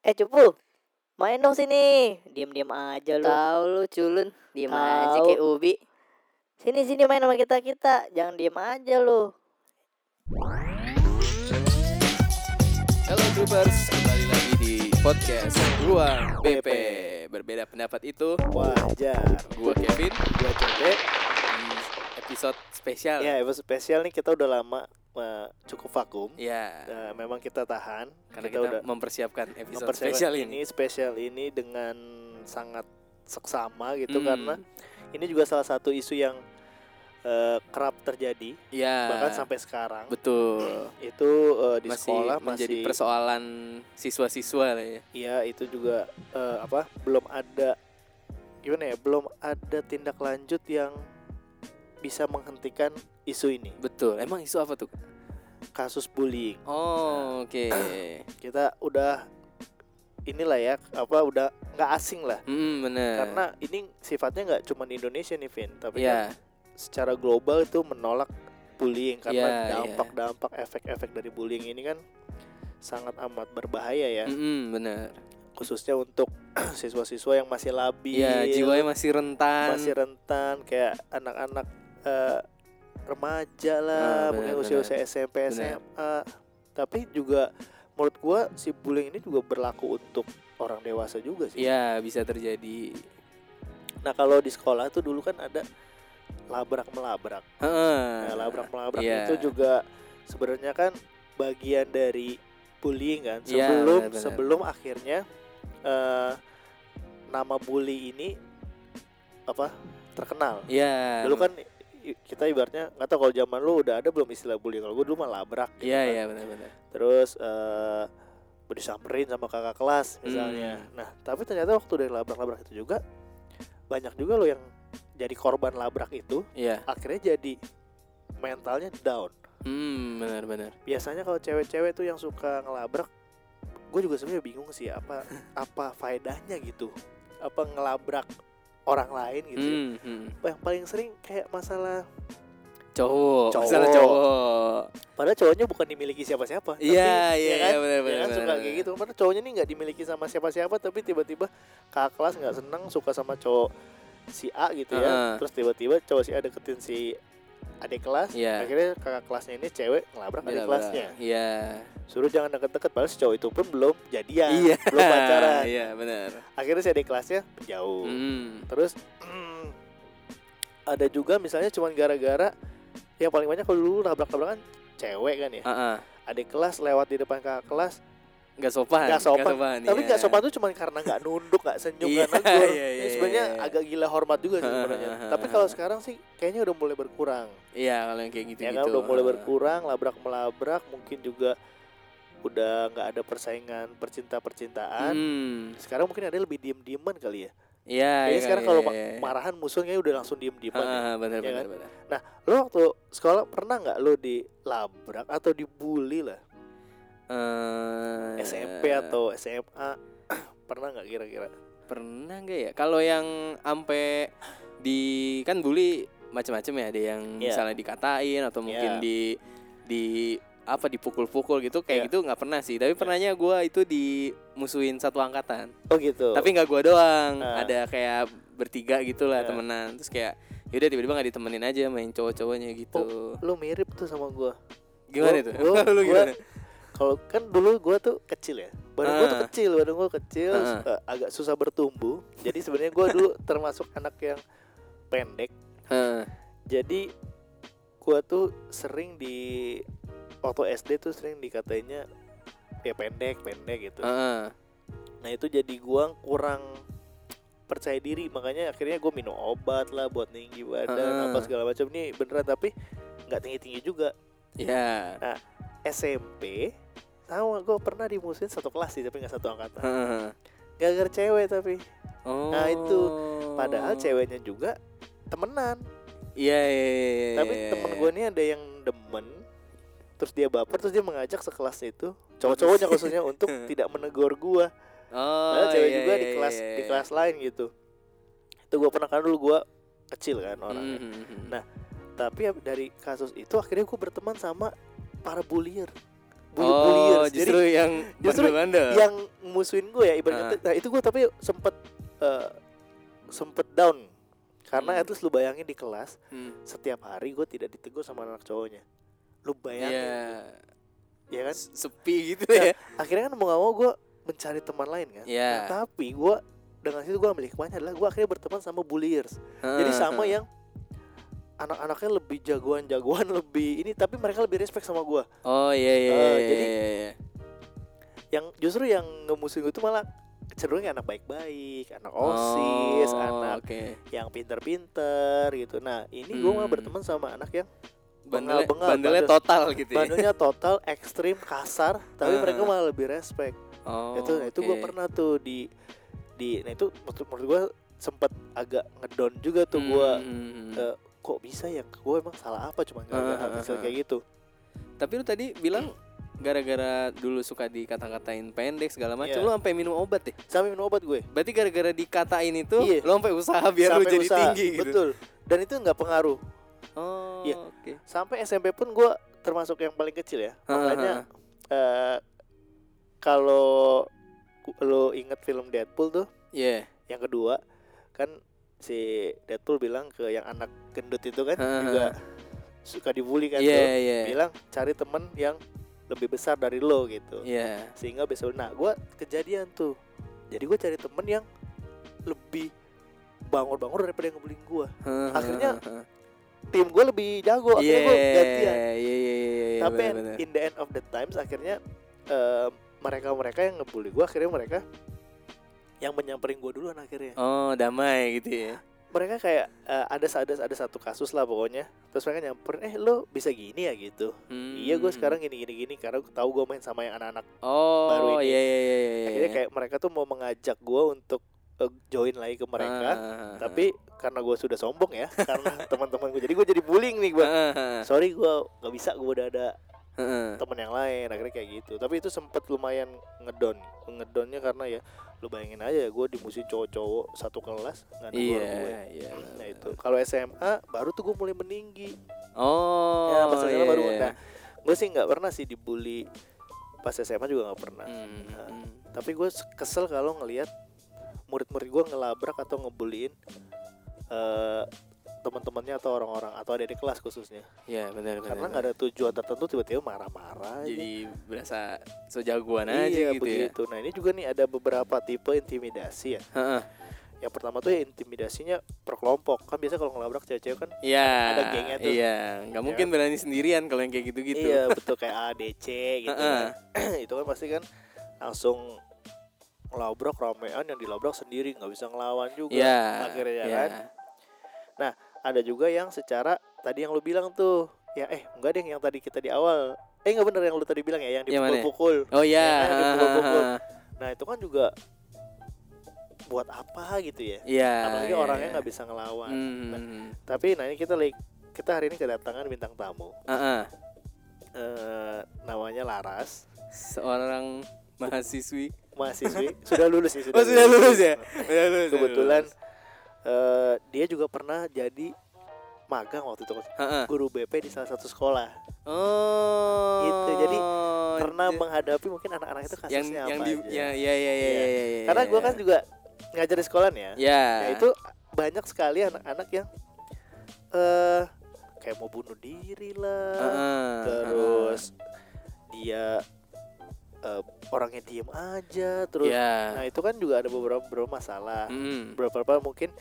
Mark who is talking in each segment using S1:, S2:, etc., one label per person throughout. S1: Eh Jepul, main dong sini. Diam-diam aja lu.
S2: Tahu lu culun, diem aja
S1: Tahu.
S2: kayak ubi.
S1: Sini sini main sama kita kita. Jangan diam aja lu.
S3: Halo Groupers, kembali lagi di podcast Ruang BP Berbeda pendapat itu,
S4: Wajar.
S3: gua Kevin
S4: Gua Cete.
S3: di episode spesial
S4: Ya, episode spesial nih kita udah lama eh, cukup vakum.
S3: Ya,
S4: Eh, memang kita tahan.
S3: karena kita, mempersiapkan episode
S4: mempersiapkan
S3: spesial ini,
S4: spesial ini dengan sangat seksama gitu
S3: Hmm.
S4: karena ini juga salah satu isu yang eh, kerap terjadi
S3: Ya,
S4: bahkan sampai sekarang
S3: betul
S4: itu eh, di
S3: Masih
S4: sekolah
S3: menjadi
S4: masih
S3: persoalan siswa-siswa lah ya
S4: Iya itu juga eh, apa belum ada gimana ya belum ada tindak lanjut yang bisa menghentikan isu ini
S3: Betul, emang isu apa tuh?
S4: kasus bullying Nah.
S3: Oh, oke
S4: kita udah inilah ya apa udah nggak asing lah
S3: Hmm, bener
S4: karena ini sifatnya nggak cuma di Indonesia nih Vin tapi
S3: Ya,
S4: kan secara global itu menolak bullying
S3: Iya,
S4: karena
S3: iya.
S4: dampak-dampak efek-efek dari bullying ini kan sangat amat berbahaya ya
S3: mm-mm, Hmm, bener
S4: khususnya untuk siswa-siswa yang masih labil
S3: Ya, jiwanya masih rentan
S4: Iya. masih rentan kayak anak-anak eh, remaja
S3: Ah,
S4: lah
S3: benar,
S4: mungkin
S3: benar.
S4: usia-usia SMP
S3: Benar.
S4: SMA tapi juga menurut gua si bullying ini juga berlaku untuk orang dewasa juga sih
S3: Ya, bisa terjadi
S4: nah kalau di sekolah tuh dulu kan ada labrak melabrak nah,
S3: Heeh.
S4: labrak melabrak
S3: iya.
S4: itu juga sebenarnya kan bagian dari bullying kan
S3: Iya,
S4: sebelum
S3: benar, benar.
S4: sebelum akhirnya eh, nama bully ini apa terkenal
S3: Iya.
S4: dulu kan i- kita ibaratnya nggak tahu kalau zaman lu udah ada belum istilah bullying kalau gue dulu mah labrak gitu
S3: Iya
S4: kan.
S3: iya benar-benar.
S4: terus eh gua disamperin sama kakak
S3: Hmm, iya.
S4: kelas misalnya nah tapi ternyata waktu dari labrak-labrak itu juga banyak juga lo yang jadi korban labrak itu
S3: Iya.
S4: akhirnya jadi mentalnya down
S3: Hmm benar-benar.
S4: biasanya kalau cewek-cewek tuh yang suka ngelabrak gue juga sebenarnya bingung sih apa apa faedahnya gitu apa ngelabrak orang lain gitu ya.
S3: Hmm, hmm.
S4: yang paling sering kayak masalah
S3: Cowok.
S4: Cowok.
S3: Masalah cowok.
S4: Padahal cowoknya bukan dimiliki siapa-siapa. tapi,
S3: Iya
S4: ya
S3: iya
S4: kan?
S3: iya benar-benar.
S4: Ya kan suka
S3: benar-benar.
S4: kayak gitu. Padahal cowoknya ini nggak dimiliki sama siapa-siapa, tapi tiba-tiba kakak kelas nggak seneng suka sama cowok si A gitu ya.
S3: Heeh.
S4: Terus tiba-tiba cowok si A deketin si adik kelas.
S3: Iya.
S4: Akhirnya kakak kelasnya ini cewek ngelabrak adik
S3: Benar-benar.
S4: kelasnya.
S3: Iya.
S4: Suruh jangan deket-deket. Padahal si cowok itu pun belum jadian,
S3: Iya.
S4: belum pacaran.
S3: Iya benar.
S4: Akhirnya si adik kelasnya jauh.
S3: Hmm.
S4: Terus ada juga misalnya cuman gara-gara yang paling banyak kalau dulu nabrak-nabrakan cewek kan ya
S3: Ah ah.
S4: adik kelas lewat di depan kakak kelas
S3: Nggak sopan.
S4: Nggak sopan. tapi
S3: iya.
S4: nggak sopan tuh cuman karena nggak nunduk nggak senyum
S3: Iya,
S4: nggak negur
S3: iya,
S4: Ini
S3: iya,
S4: sebenarnya
S3: iya.
S4: agak gila hormat juga sih sebenarnya tapi kalau sekarang sih kayaknya udah mulai berkurang
S3: Iya kalau yang kayak gitu
S4: ya
S3: gitu.
S4: kan udah mulai berkurang labrak melabrak mungkin juga udah nggak ada persaingan percinta percintaan
S3: Hmm.
S4: sekarang mungkin ada yang lebih diem dieman kali ya
S3: Iya.
S4: Kayaknya
S3: iya,
S4: sekarang
S3: iya,
S4: kalau
S3: iya,
S4: ma-
S3: iya.
S4: marahan musuh kayaknya udah langsung diem
S3: Ah,
S4: dieman ya.
S3: ah,
S4: ya
S3: benar-benar.
S4: kan?
S3: benar.
S4: lo waktu sekolah pernah nggak lo dilabrak atau dibully lah
S3: Eh,
S4: SMP atau SMA pernah nggak kira-kira
S3: pernah nggak ya kalau yang ampe di kan bully macam-macam ya ada yang
S4: Iya.
S3: misalnya dikatain atau mungkin
S4: Iya.
S3: di di apa dipukul-pukul gitu kayak
S4: Iya.
S3: gitu nggak pernah sih tapi pernahnya gua itu dimusuhin satu angkatan
S4: oh gitu
S3: tapi nggak gua doang
S4: Ah.
S3: ada kayak bertiga gitulah
S4: Iya.
S3: temenan terus kayak yaudah tiba-tiba nggak ditemenin aja main cowok-cowoknya gitu
S4: lu mirip tuh sama gua
S3: gimana
S4: gua-
S3: itu
S4: gua-
S3: lu
S4: Oh. gua-
S3: gimana
S4: kalau kan dulu gua tuh kecil ya badan gua tuh
S3: Ah.
S4: kecil badan gua kecil
S3: Ah.
S4: suka- agak susah bertumbuh jadi sebenarnya gua dulu termasuk anak yang pendek
S3: Heeh.
S4: jadi gua tuh sering di waktu SD tuh sering dikatainya ya pendek pendek gitu
S3: heeh.
S4: nah itu jadi gua kurang percaya diri makanya akhirnya gua minum obat lah buat tinggi
S3: Ah.
S4: badan apa segala macam nih beneran tapi nggak tinggi tinggi juga
S3: ya
S4: SMP sama gue pernah dimusuhin satu kelas sih tapi nggak satu angkatan
S3: Heeh.
S4: gara-gara cewek tapi
S3: oh
S4: Nah, itu. padahal ceweknya juga temenan
S3: Iya, iya, iya, iya,
S4: tapi
S3: iya,
S4: temen
S3: iya.
S4: gue nih ada yang demen terus dia baper terus dia mengajak sekelas itu cowok-cowoknya khususnya untuk tidak menegur gue
S3: Oh,
S4: padahal cewek
S3: iya,
S4: juga di
S3: iya,
S4: kelas
S3: iya,
S4: di
S3: iya.
S4: kelas lain gitu itu gue pernah kan dulu gue kecil kan orangnya
S3: Mhm, mhm.
S4: Nah, tapi ab- dari kasus itu akhirnya gue berteman sama para bullier bully bulliers.
S3: Oh, justru
S4: Jadi
S3: yang
S4: justru
S3: bandel-bandel.
S4: yang musuhin gue
S3: Ah.
S4: ya ibaratnya. Nah itu gue tapi sempet eh, sempet down karena
S3: Hmm.
S4: at least lu bayangin di kelas
S3: Hmm.
S4: setiap hari gue tidak ditegur sama anak cowoknya. Lu bayangin,
S3: Iya,
S4: ya kan?
S3: s- sepi gitu ya.
S4: Ya, akhirnya kan mau gak mau gue mencari teman lain kan.
S3: Iya.
S4: Nah, tapi gue dengan situ gue ambil hikmahnya adalah gue akhirnya berteman sama bulliers.
S3: Ah,
S4: Jadi sama yang anak-anaknya lebih jagoan-jagoan lebih ini tapi mereka lebih respect sama gue.
S3: Oh iya iya.
S4: Eh,
S3: iya,
S4: jadi-
S3: iya, iya.
S4: Yang justru yang ngemusuhin gue tuh malah cenderungnya anak baik-baik, anak osis,
S3: Oh,
S4: anak
S3: Oke.
S4: yang pinter-pinter gitu. Nah ini gue malah
S3: Hmm.
S4: berteman sama anak yang
S3: Bandelnya,
S4: bengal,
S3: bandelnya
S4: bandel.
S3: total gitu ya.
S4: badannya total, ekstrim, kasar,
S3: Ah.
S4: tapi mereka malah lebih respect.
S3: Oh,
S4: itu nah, itu gue
S3: oke.
S4: pernah tuh di di nah itu menurut, menurut gue sempet agak ngedown juga tuh gue
S3: Hmm, hmm, hmm.
S4: eh, kok bisa ya gue emang salah apa cuma gara
S3: Ah, ah,
S4: kecil
S3: ah.
S4: kayak gitu
S3: Tapi lu tadi bilang gara-gara dulu suka dikata-katain pendek segala macam,
S4: Iya.
S3: lu sampai minum obat deh.
S4: sampai minum obat gue
S3: Berarti gara-gara dikatain itu,
S4: Iya.
S3: lu sampai usaha biar lu
S4: Sampai
S3: jadi
S4: usaha,
S3: tinggi gitu.
S4: betul dan itu nggak pengaruh
S3: Oh,
S4: Iya.
S3: oke.
S4: sampai SMP pun gue termasuk yang paling kecil ya
S3: Ah,
S4: makanya eh, kalau ku- lo inget film Deadpool tuh
S3: Iya.
S4: yang kedua kan si Deadpool bilang ke yang anak gendut itu kan
S3: Ah, ah,
S4: juga suka dibully kan
S3: Iya,
S4: tuh.
S3: iya.
S4: bilang cari temen yang lebih besar dari lo gitu
S3: Iya.
S4: sehingga besok nah gue kejadian tuh jadi gue cari temen yang lebih bangor-bangor daripada yang ngebullying gue Akhirnya tim gue lebih jago
S3: Iya,
S4: akhirnya
S3: iya,
S4: gue gantian
S3: iya, iya, iya,
S4: tapi
S3: benar-benar.
S4: in the end of the times akhirnya eh, mereka-mereka yang ngebully gue akhirnya mereka yang menyamperin gue duluan akhirnya
S3: Oh, damai gitu ya.
S4: mereka kayak eh, ada ada ada satu kasus lah pokoknya terus mereka nyamperin eh lo bisa gini ya gitu iya gue
S3: Hmm.
S4: sekarang gini gini gini karena tahu gue main sama yang anak-anak
S3: Oh,
S4: baru ini.
S3: iya, iya, iya, iya, iya.
S4: akhirnya kayak mereka tuh mau mengajak gue untuk eh, join lagi ke mereka
S3: Ah,
S4: tapi karena gue sudah sombong ya karena teman-teman gue jadi gue jadi bullying nih gue
S3: ah, ah,
S4: sorry gue nggak bisa gue udah ada
S3: ah, ah.
S4: teman yang lain akhirnya kayak gitu tapi itu sempet lumayan ngedon ngedonnya karena ya lu bayangin aja gue dimusuhin cowok-cowok satu kelas nggak
S3: Iya,
S4: gue
S3: iya.
S4: nah itu kalau SMA baru tuh gue mulai meninggi
S3: Oh,
S4: ya pas SMA baru
S3: iya.
S4: nah gue sih nggak pernah sih dibully pas SMA juga nggak pernah
S3: Hmm,
S4: Nah.
S3: hmm.
S4: tapi gue kesel kalau ngelihat murid-murid gue ngelabrak atau ngebullying eh teman-temannya atau orang-orang atau ada di kelas khususnya
S3: Iya, benar, benar.
S4: karena nggak ada tujuan tertentu tiba-tiba marah-marah aja.
S3: jadi berasa sejagoan aja
S4: iya,
S3: gitu ya.
S4: begitu. Nah ini juga nih ada beberapa tipe intimidasi ya.
S3: Heeh.
S4: Yang pertama tuh ya intimidasinya per kelompok. Kan biasa kalau ngelabrak cewek-cewek kan.
S3: Iya.
S4: Ada gengnya tuh.
S3: Iya, nggak
S4: Ya.
S3: mungkin berani sendirian kalau yang kayak gitu-gitu.
S4: Iya betul kayak ADC gitu.
S3: gitu. Heeh.
S4: kan. Itu kan pasti kan langsung ngelabrak ramean yang dilabrak sendiri nggak bisa ngelawan juga.
S3: Iya.
S4: Akhirnya ya
S3: iya.
S4: kan. Ada juga yang secara tadi yang lu bilang tuh ya eh enggak deh yang tadi kita di awal. Eh nggak bener yang lu tadi bilang ya yang
S3: Yang mana ya?
S4: dipukul-pukul.
S3: Oh iya.
S4: Ya kan, dipukul-pukul.
S3: ah, ah, ah.
S4: Nah itu kan juga buat apa gitu ya?
S3: Iya.
S4: Apalagi
S3: iya,
S4: orangnya
S3: iya.
S4: nggak bisa ngelawan.
S3: Hmm.
S4: Tapi nah ini kita li- kita hari ini kedatangan bintang tamu
S3: ah, ah.
S4: Eh, namanya Laras
S3: Seorang mahasiswi.
S4: mahasiswi sudah lulus sih
S3: Oh, sudah lulus ya? Udah lulus, udah
S4: Kebetulan
S3: lulus.
S4: eh, dia juga pernah jadi magang waktu itu
S3: Ah, ah.
S4: guru BP di salah satu sekolah
S3: Oh.
S4: Gitu, jadi pernah
S3: dia-
S4: menghadapi mungkin anak-anak itu
S3: Oh, iya. yang
S4: kasusnya apa
S3: yang di
S4: aja.
S3: ya ya ya ya,
S4: Iya.
S3: ya, ya, ya,
S4: karena
S3: ya.
S4: gue kan juga ngajar di sekolah nih ya
S3: ya.
S4: Nah, itu banyak sekali anak-anak yang eh kayak mau bunuh diri lah
S3: Heeh,
S4: terus dia eh, orangnya diem aja
S3: heeh.
S4: terus
S3: ya.
S4: nah itu kan juga ada beberapa beberapa masalah
S3: Mm.
S4: beberapa mungkin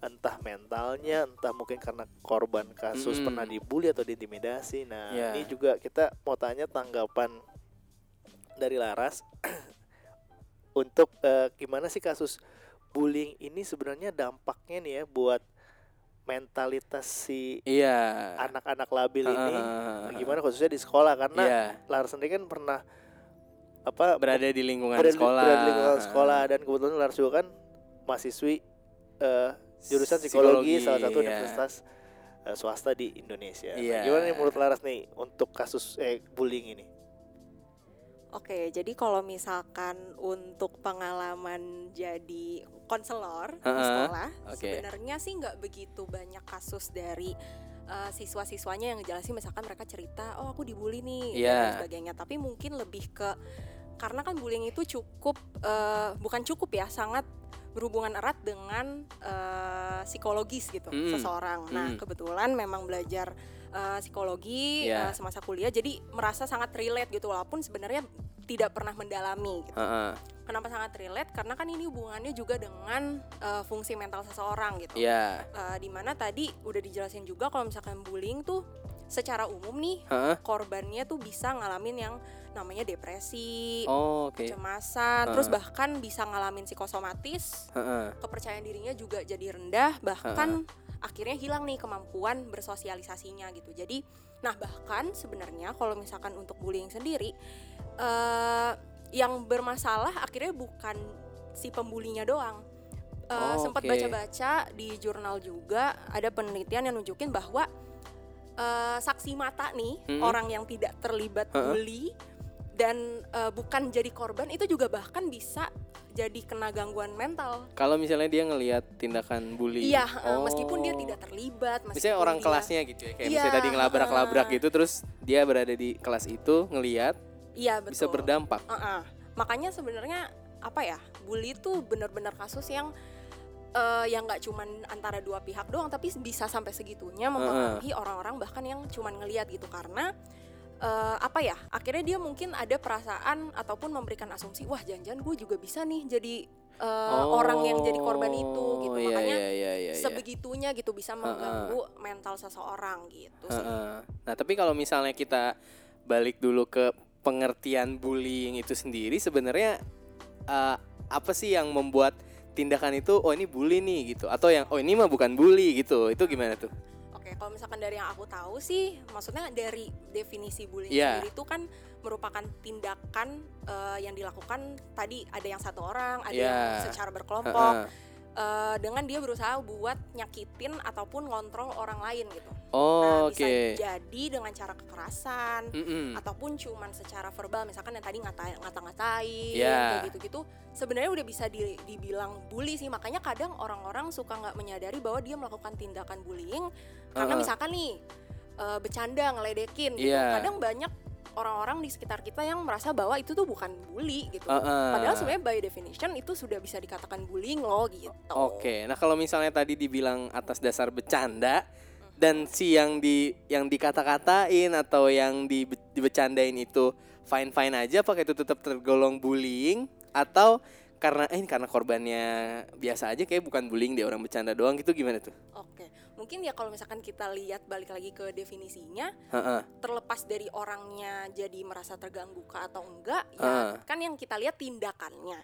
S4: entah mentalnya entah mungkin karena korban kasus
S3: Mm-mm.
S4: pernah dibully atau diintimidasi nah
S3: Ya.
S4: ini juga kita mau tanya tanggapan dari Laras untuk eh, gimana sih kasus bullying ini sebenarnya dampaknya nih ya buat mentalitas si
S3: Iya.
S4: anak-anak labil ini
S3: Heeh.
S4: gimana khususnya di sekolah karena
S3: Iya,
S4: Laras sendiri kan pernah apa
S3: berada di lingkungan
S4: berada di-
S3: sekolah.
S4: berada di lingkungan sekolah dan kebetulan Laras juga kan mahasiswi eh, jurusan psikologi, salah satu
S3: iya.
S4: universitas eh, swasta di Indonesia. Nah,
S3: Iya.
S4: gimana nih menurut Laras nih untuk kasus eh, bullying ini?
S5: Oke, jadi kalau misalkan untuk pengalaman jadi konselor di
S3: Heeh,
S5: sekolah,
S3: oke.
S5: sebenarnya sih nggak begitu banyak kasus dari eh, siswa-siswanya yang ngejelasin misalkan mereka cerita oh aku dibully nih
S3: Iya.
S5: dan sebagainya tapi mungkin lebih ke karena kan bullying itu cukup eh, bukan cukup ya sangat berhubungan erat dengan eh, psikologis gitu
S2: Hmm.
S3: Mm.
S5: seseorang. Nah
S3: Mm.
S5: kebetulan memang belajar eh, psikologi
S3: Iya.
S5: eh, semasa kuliah jadi merasa sangat relate gitu walaupun sebenarnya tidak pernah mendalami. Gitu.
S3: Heeh.
S5: Kenapa sangat relate? Karena kan ini hubungannya juga dengan eh, fungsi mental seseorang gitu
S3: Iya.
S5: uh, dimana tadi udah dijelasin juga kalau misalkan bullying tuh secara umum nih
S3: Heeh.
S5: korbannya tuh bisa ngalamin yang namanya depresi,
S3: Oh, oke.
S5: kecemasan, terus
S3: Heeh.
S5: bahkan bisa ngalamin psikosomatis,
S3: Heeh.
S5: kepercayaan dirinya juga jadi rendah, bahkan akhirnya hilang nih kemampuan bersosialisasinya gitu. Jadi, nah bahkan sebenarnya kalau misalkan untuk bullying sendiri eh yang bermasalah akhirnya bukan si pembulinya doang.
S3: Oh,
S5: sempat
S3: oke.
S5: baca-baca di jurnal juga ada penelitian yang nunjukin bahwa eh, saksi mata nih
S3: Mm-mm.
S5: orang yang tidak terlibat
S3: Hmm. Heeh.
S5: bully dan eh, bukan jadi korban itu juga bahkan bisa jadi kena gangguan mental.
S3: Kalau misalnya dia ngelihat tindakan bully.
S5: Iya, eh, meskipun dia
S3: Oh.
S5: tidak terlibat, meskipun
S3: Misalnya orang
S5: dia-
S3: kelasnya gitu ya, kayak
S5: Iya,
S3: misalnya tadi ngelabrak-labrak
S5: heeh.
S3: gitu, terus dia berada di kelas itu ngelihat
S5: Iya, betul.
S3: bisa berdampak.
S5: Heeh. Makanya sebenarnya apa ya bully itu benar-benar kasus yang eh, yang nggak cuman antara dua pihak doang tapi bisa sampai segitunya mempengaruhi orang-orang bahkan yang cuman ngelihat gitu karena eh, apa ya akhirnya dia mungkin ada perasaan ataupun memberikan asumsi wah jangan-jangan gue juga bisa nih jadi eh, orang yang jadi korban itu gitu
S3: iya,
S5: makanya
S3: iya, iya, iya, iya.
S5: sebegitunya gitu bisa mengganggu mental seseorang gitu sih.
S3: Heeh. Nah, tapi kalau misalnya kita balik dulu ke pengertian bullying itu sendiri, sebenarnya eh, apa sih yang membuat tindakan itu oh ini bully nih gitu atau yang oh ini mah bukan bully gitu itu gimana tuh
S5: Oke, kalau misalkan dari yang aku tahu sih, maksudnya dari definisi bullying
S3: Iya.
S5: sendiri itu kan merupakan tindakan eh, yang dilakukan tadi ada yang satu orang, ada
S3: Iya.
S5: yang secara berkelompok
S3: Heeh.
S5: eh, dengan dia berusaha buat nyakitin ataupun ngontrol orang lain gitu.
S3: oh
S5: Nah,
S3: oke
S5: bisa jadi dengan cara kekerasan
S3: Mm-mm.
S5: ataupun cuman secara verbal misalkan yang tadi ngata ngata-ngatain
S3: Iya.
S5: kayak gitu-gitu sebenarnya udah bisa di- dibilang bully sih makanya kadang orang-orang suka nggak menyadari bahwa dia melakukan tindakan bullying karena
S3: Uh-uh.
S5: misalkan nih eh, bercanda ngeledekin gitu
S3: Iya.
S5: kadang banyak orang-orang di sekitar kita yang merasa bahwa itu tuh bukan bully gitu
S3: Heeh.
S5: padahal sebenarnya by definition itu sudah bisa dikatakan bullying loh gitu
S3: Oke, nah kalau misalnya tadi dibilang atas dasar bercanda dan si yang di yang dikata-katain atau yang di, dibecandain itu fine fine aja, apakah itu tetap tergolong bullying atau karena eh ini karena korbannya biasa aja kayak bukan bullying dia orang bercanda doang gitu gimana tuh?
S5: Oke, mungkin ya kalau misalkan kita lihat balik lagi ke definisinya,
S3: Heeh.
S5: terlepas dari orangnya jadi merasa terganggu ke atau enggak,
S3: Heeh.
S5: ya kan yang kita lihat tindakannya,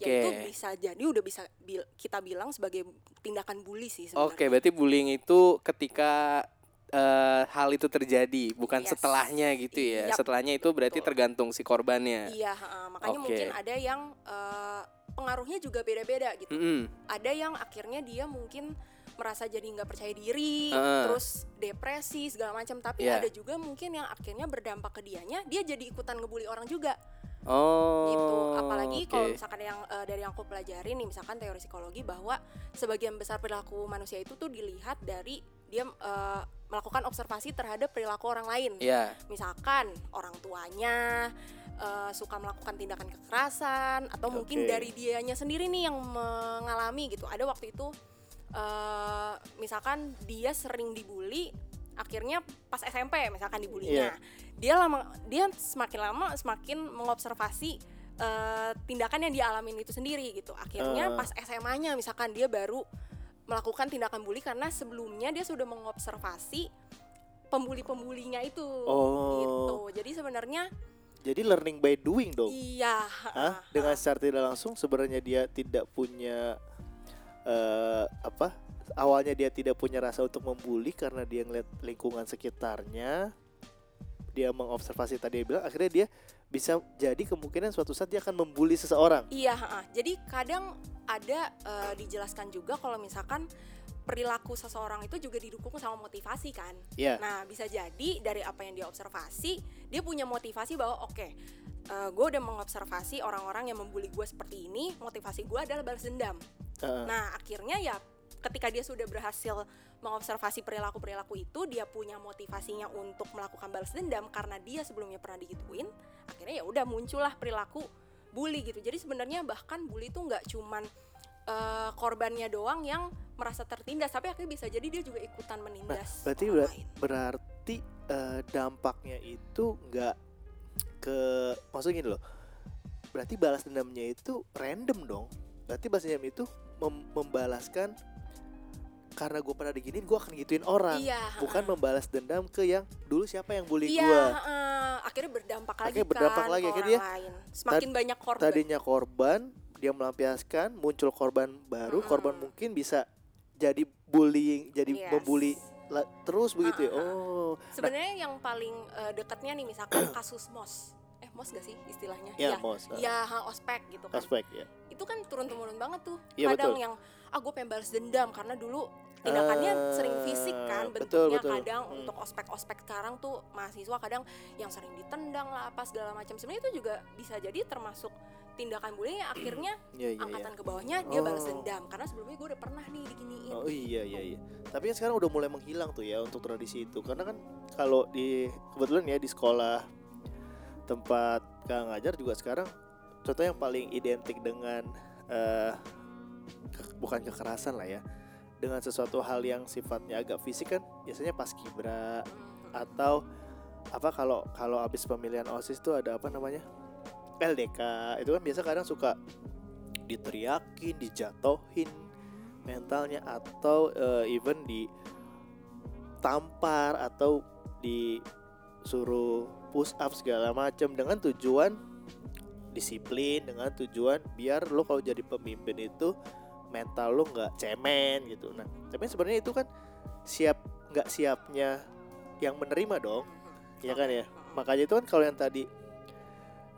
S5: yaitu Ya,
S3: Oke.
S5: bisa jadi udah bisa bil- kita bilang sebagai tindakan bully sih
S3: Oke,
S5: sebenarnya.
S3: berarti bullying itu ketika eh, hal itu terjadi, bukan
S5: Yes.
S3: setelahnya gitu ya.
S5: Yap,
S3: Setelahnya itu berarti
S5: betul.
S3: tergantung si korbannya.
S5: Iya, heeh, makanya
S3: Oke.
S5: mungkin ada yang eh, pengaruhnya juga beda-beda gitu.
S3: Mm-mm.
S5: Ada yang akhirnya dia mungkin merasa jadi nggak percaya diri,
S3: Heeh.
S5: terus depresi segala macam. Tapi
S3: Iya.
S5: ada juga mungkin yang akhirnya berdampak ke dianya, dia jadi ikutan ngebully orang juga.
S3: Oh.
S5: gitu apalagi kalau
S3: oke.
S5: misalkan yang eh, dari yang aku pelajari nih misalkan teori psikologi bahwa sebagian besar perilaku manusia itu tuh dilihat dari dia eh, melakukan observasi terhadap perilaku orang lain
S3: Iya.
S5: misalkan orang tuanya eh, suka melakukan tindakan kekerasan atau mungkin
S4: Oke.
S5: dari dianya sendiri nih yang mengalami gitu ada waktu itu eh, misalkan dia sering dibully akhirnya pas SMP misalkan
S4: Iya.
S5: dibulinya dia lama dia semakin lama semakin mengobservasi eh, tindakan yang dia alamin itu sendiri gitu akhirnya
S4: Ah.
S5: pas SMA-nya misalkan dia baru melakukan tindakan bully karena sebelumnya dia sudah mengobservasi pembuli-pembulinya itu
S4: Oh.
S5: gitu. Jadi sebenarnya
S4: Jadi learning by doing dong.
S5: iya.
S4: Hah? Dengan secara tidak langsung sebenarnya dia tidak punya eh apa? Awalnya dia tidak punya rasa untuk membuli karena dia ngeliat lingkungan sekitarnya. Dia mengobservasi tadi dia bilang akhirnya dia bisa jadi kemungkinan suatu saat dia akan membuli seseorang.
S5: Iya, ha-ha. Jadi kadang ada eh, dijelaskan juga kalau misalkan perilaku seseorang itu juga didukung sama motivasi kan.
S4: Iya.
S5: Nah, bisa jadi dari apa yang dia observasi, dia punya motivasi bahwa oke, gue udah mengobservasi orang-orang yang membuli gue seperti ini, motivasi gue adalah balas dendam.
S4: Heeh.
S5: Nah, akhirnya ya ketika dia sudah berhasil mengobservasi perilaku perilaku itu dia punya motivasinya untuk melakukan balas dendam karena dia sebelumnya pernah digituin akhirnya ya udah muncullah perilaku bully gitu jadi sebenarnya bahkan bully itu nggak cuman eh, korbannya doang yang merasa tertindas tapi akhirnya bisa jadi dia juga ikutan menindas
S4: berarti
S5: orang
S4: berat-
S5: lain.
S4: berarti eh, dampaknya itu nggak ke maksudnya gini loh berarti balas dendamnya itu random dong berarti balas dendam itu mem- membalaskan karena gue pernah diginiin gue akan gituin orang
S5: iya
S4: bukan membalas dendam ke yang dulu siapa yang bully
S5: Iya,
S4: gue
S5: eh, akhirnya berdampak lagi
S4: Akhirnya berdampak
S5: kan
S4: lagi,
S5: ke
S4: akhirnya
S5: orang lain. Semakin banyak korban.
S4: tadinya korban dia melampiaskan muncul korban baru
S5: Mm-mm.
S4: korban mungkin bisa jadi bullying jadi
S5: Yes.
S4: membuli la- terus begitu ya
S5: Ah, ah,
S4: oh
S5: Sebenarnya yang paling eh, dekatnya nih misalkan kasus mos. Eh, mos gak sih istilahnya?
S4: ya,
S5: Ya.
S4: mos ah,
S5: Ya, ha, ospek gitu kan.
S4: aspek ya
S5: Itu kan turun-temurun banget tuh.
S4: Iya,
S5: kadang
S4: betul.
S5: yang ah gue pengen balas dendam karena dulu tindakannya
S4: Ah,
S5: sering fisik kan
S4: betul,
S5: bentuknya
S4: betul.
S5: kadang
S4: Hmm.
S5: untuk ospek-ospek sekarang tuh mahasiswa kadang yang sering ditendang lah apa segala macam. Sebenarnya itu juga bisa jadi termasuk tindakan bullying yang akhirnya
S4: Iya, iya, iya.
S5: angkatan ke bawahnya dia balas
S4: Oh.
S5: dendam karena sebelumnya gue udah pernah nih diginiin
S4: Oh iya iya iya. Tapi kan sekarang udah mulai menghilang tuh ya untuk tradisi itu. Karena kan kalau di kebetulan ya di sekolah tempat Kang ngajar juga sekarang contoh yang paling identik dengan eh, ke- bukan kekerasan lah ya. Dengan sesuatu hal yang sifatnya agak fisik kan biasanya pas kibra
S5: Mm.
S4: atau apa kalau kalau habis pemilihan OSIS tuh ada apa namanya? LDK. Itu kan biasa kadang suka diteriakin, dijatohin mentalnya atau eh, even ditampar atau disuruh push up segala macam dengan tujuan disiplin dengan tujuan biar lo kalau jadi pemimpin itu mental lo nggak cemen gitu nah tapi sebenarnya itu kan siap nggak siapnya yang menerima dong
S5: Hmm,
S4: ya kan ya makanya itu kan kalau yang tadi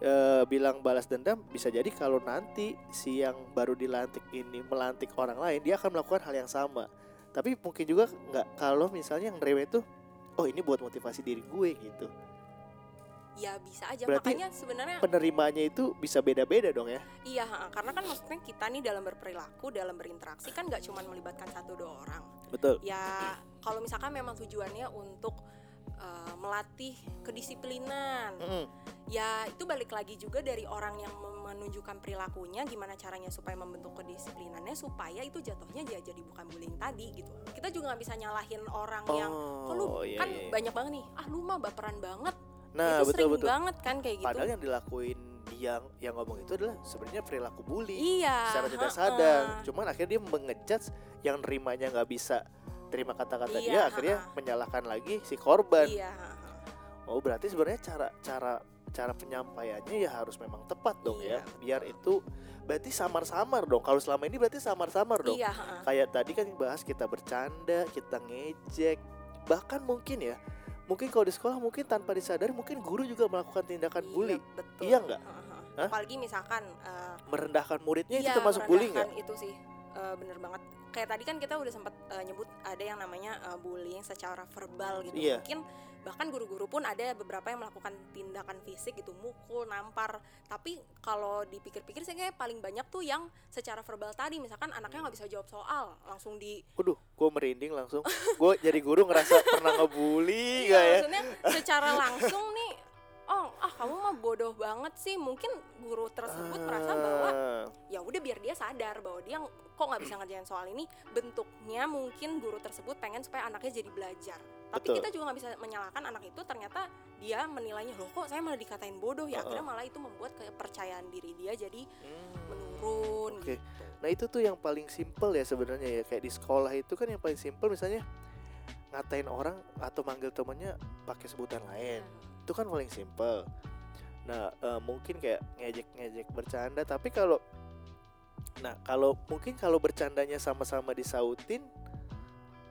S4: eh, bilang balas dendam bisa jadi kalau nanti si yang baru dilantik ini melantik orang lain dia akan melakukan hal yang sama tapi mungkin juga nggak kalau misalnya yang nerima itu oh ini buat motivasi diri gue gitu
S5: ya bisa aja
S4: Berarti
S5: makanya sebenarnya
S4: penerimanya itu bisa beda-beda dong ya
S5: iya ha, karena kan maksudnya kita nih dalam berperilaku dalam berinteraksi kan nggak cuma melibatkan satu dua orang
S4: betul
S5: ya kalau misalkan memang tujuannya untuk eh, melatih kedisiplinan ya itu balik lagi juga dari orang yang mem- menunjukkan perilakunya gimana caranya supaya membentuk kedisiplinannya supaya itu jatuhnya dia jadi bukan bullying tadi gitu kita juga nggak bisa nyalahin orang yang Kok lu
S4: oh iya,
S5: kan
S4: iya.
S5: banyak banget nih ah lu mah baperan banget
S4: nah
S5: itu
S4: betul
S5: sering
S4: betul
S5: banget kan kayak gitu
S4: padahal yang dilakuin yang yang ngomong itu adalah sebenarnya perilaku bully
S5: iya
S4: secara tidak
S5: ha-ha.
S4: sadar. Cuman akhirnya dia mengejudge yang nerimanya nggak bisa terima kata-kata dia,
S5: Iya,
S4: akhirnya
S5: ha-ha.
S4: menyalahkan lagi si korban.
S5: iya ha-ha.
S4: Oh berarti sebenarnya cara cara cara penyampaiannya ya harus memang tepat dong
S5: Iya,
S4: ya, biar itu berarti samar-samar dong. Kalau selama ini berarti samar-samar dong.
S5: iya ha-ha.
S4: Kayak tadi kan bahas kita bercanda, kita ngejek, bahkan mungkin ya, mungkin kalau di sekolah mungkin tanpa disadari mungkin guru juga melakukan tindakan
S5: Iya,
S4: Kan bully,
S5: betul.
S4: Iya nggak?
S5: Ha-ha.
S4: Hah?
S5: apalagi misalkan eh,
S4: merendahkan muridnya
S5: iya,
S4: itu termasuk bully nggak?
S5: merendahkan itu sih eh, bener banget kayak tadi kan kita udah sempat eh, nyebut ada yang namanya eh, bullying secara verbal gitu
S4: Iya.
S5: mungkin bahkan guru-guru pun ada beberapa yang melakukan tindakan fisik gitu mukul nampar tapi kalau dipikir-pikir saya kayak paling banyak tuh yang secara verbal tadi misalkan anaknya nggak bisa jawab soal langsung di
S4: Waduh, gue merinding langsung. Gue jadi guru ngerasa pernah
S5: Iya,
S4: ngebully gak ya?
S5: maksudnya secara langsung nih, oh ah kamu mah bodoh banget sih. Mungkin guru tersebut merasa bahwa
S4: Ah,
S5: ya udah biar dia sadar bahwa dia kok nggak bisa ngerjain soal ini. Bentuknya mungkin guru tersebut pengen supaya anaknya jadi belajar. Tapi
S4: Betul.
S5: kita juga nggak bisa menyalahkan anak itu. Ternyata dia menilainya loh kok saya malah dikatain bodoh ya. Akhirnya malah itu membuat kepercayaan diri dia jadi
S4: hmm.
S5: menurun. gitu.
S4: Oke. Nah itu tuh yang paling simple ya sebenarnya ya kayak di sekolah itu kan yang paling simple misalnya ngatain orang atau manggil temannya pakai sebutan lain
S5: gitu.
S4: itu kan paling simple. Nah eh, mungkin kayak ngejek-ngejek bercanda tapi kalau nah kalau mungkin kalau bercandanya sama-sama disautin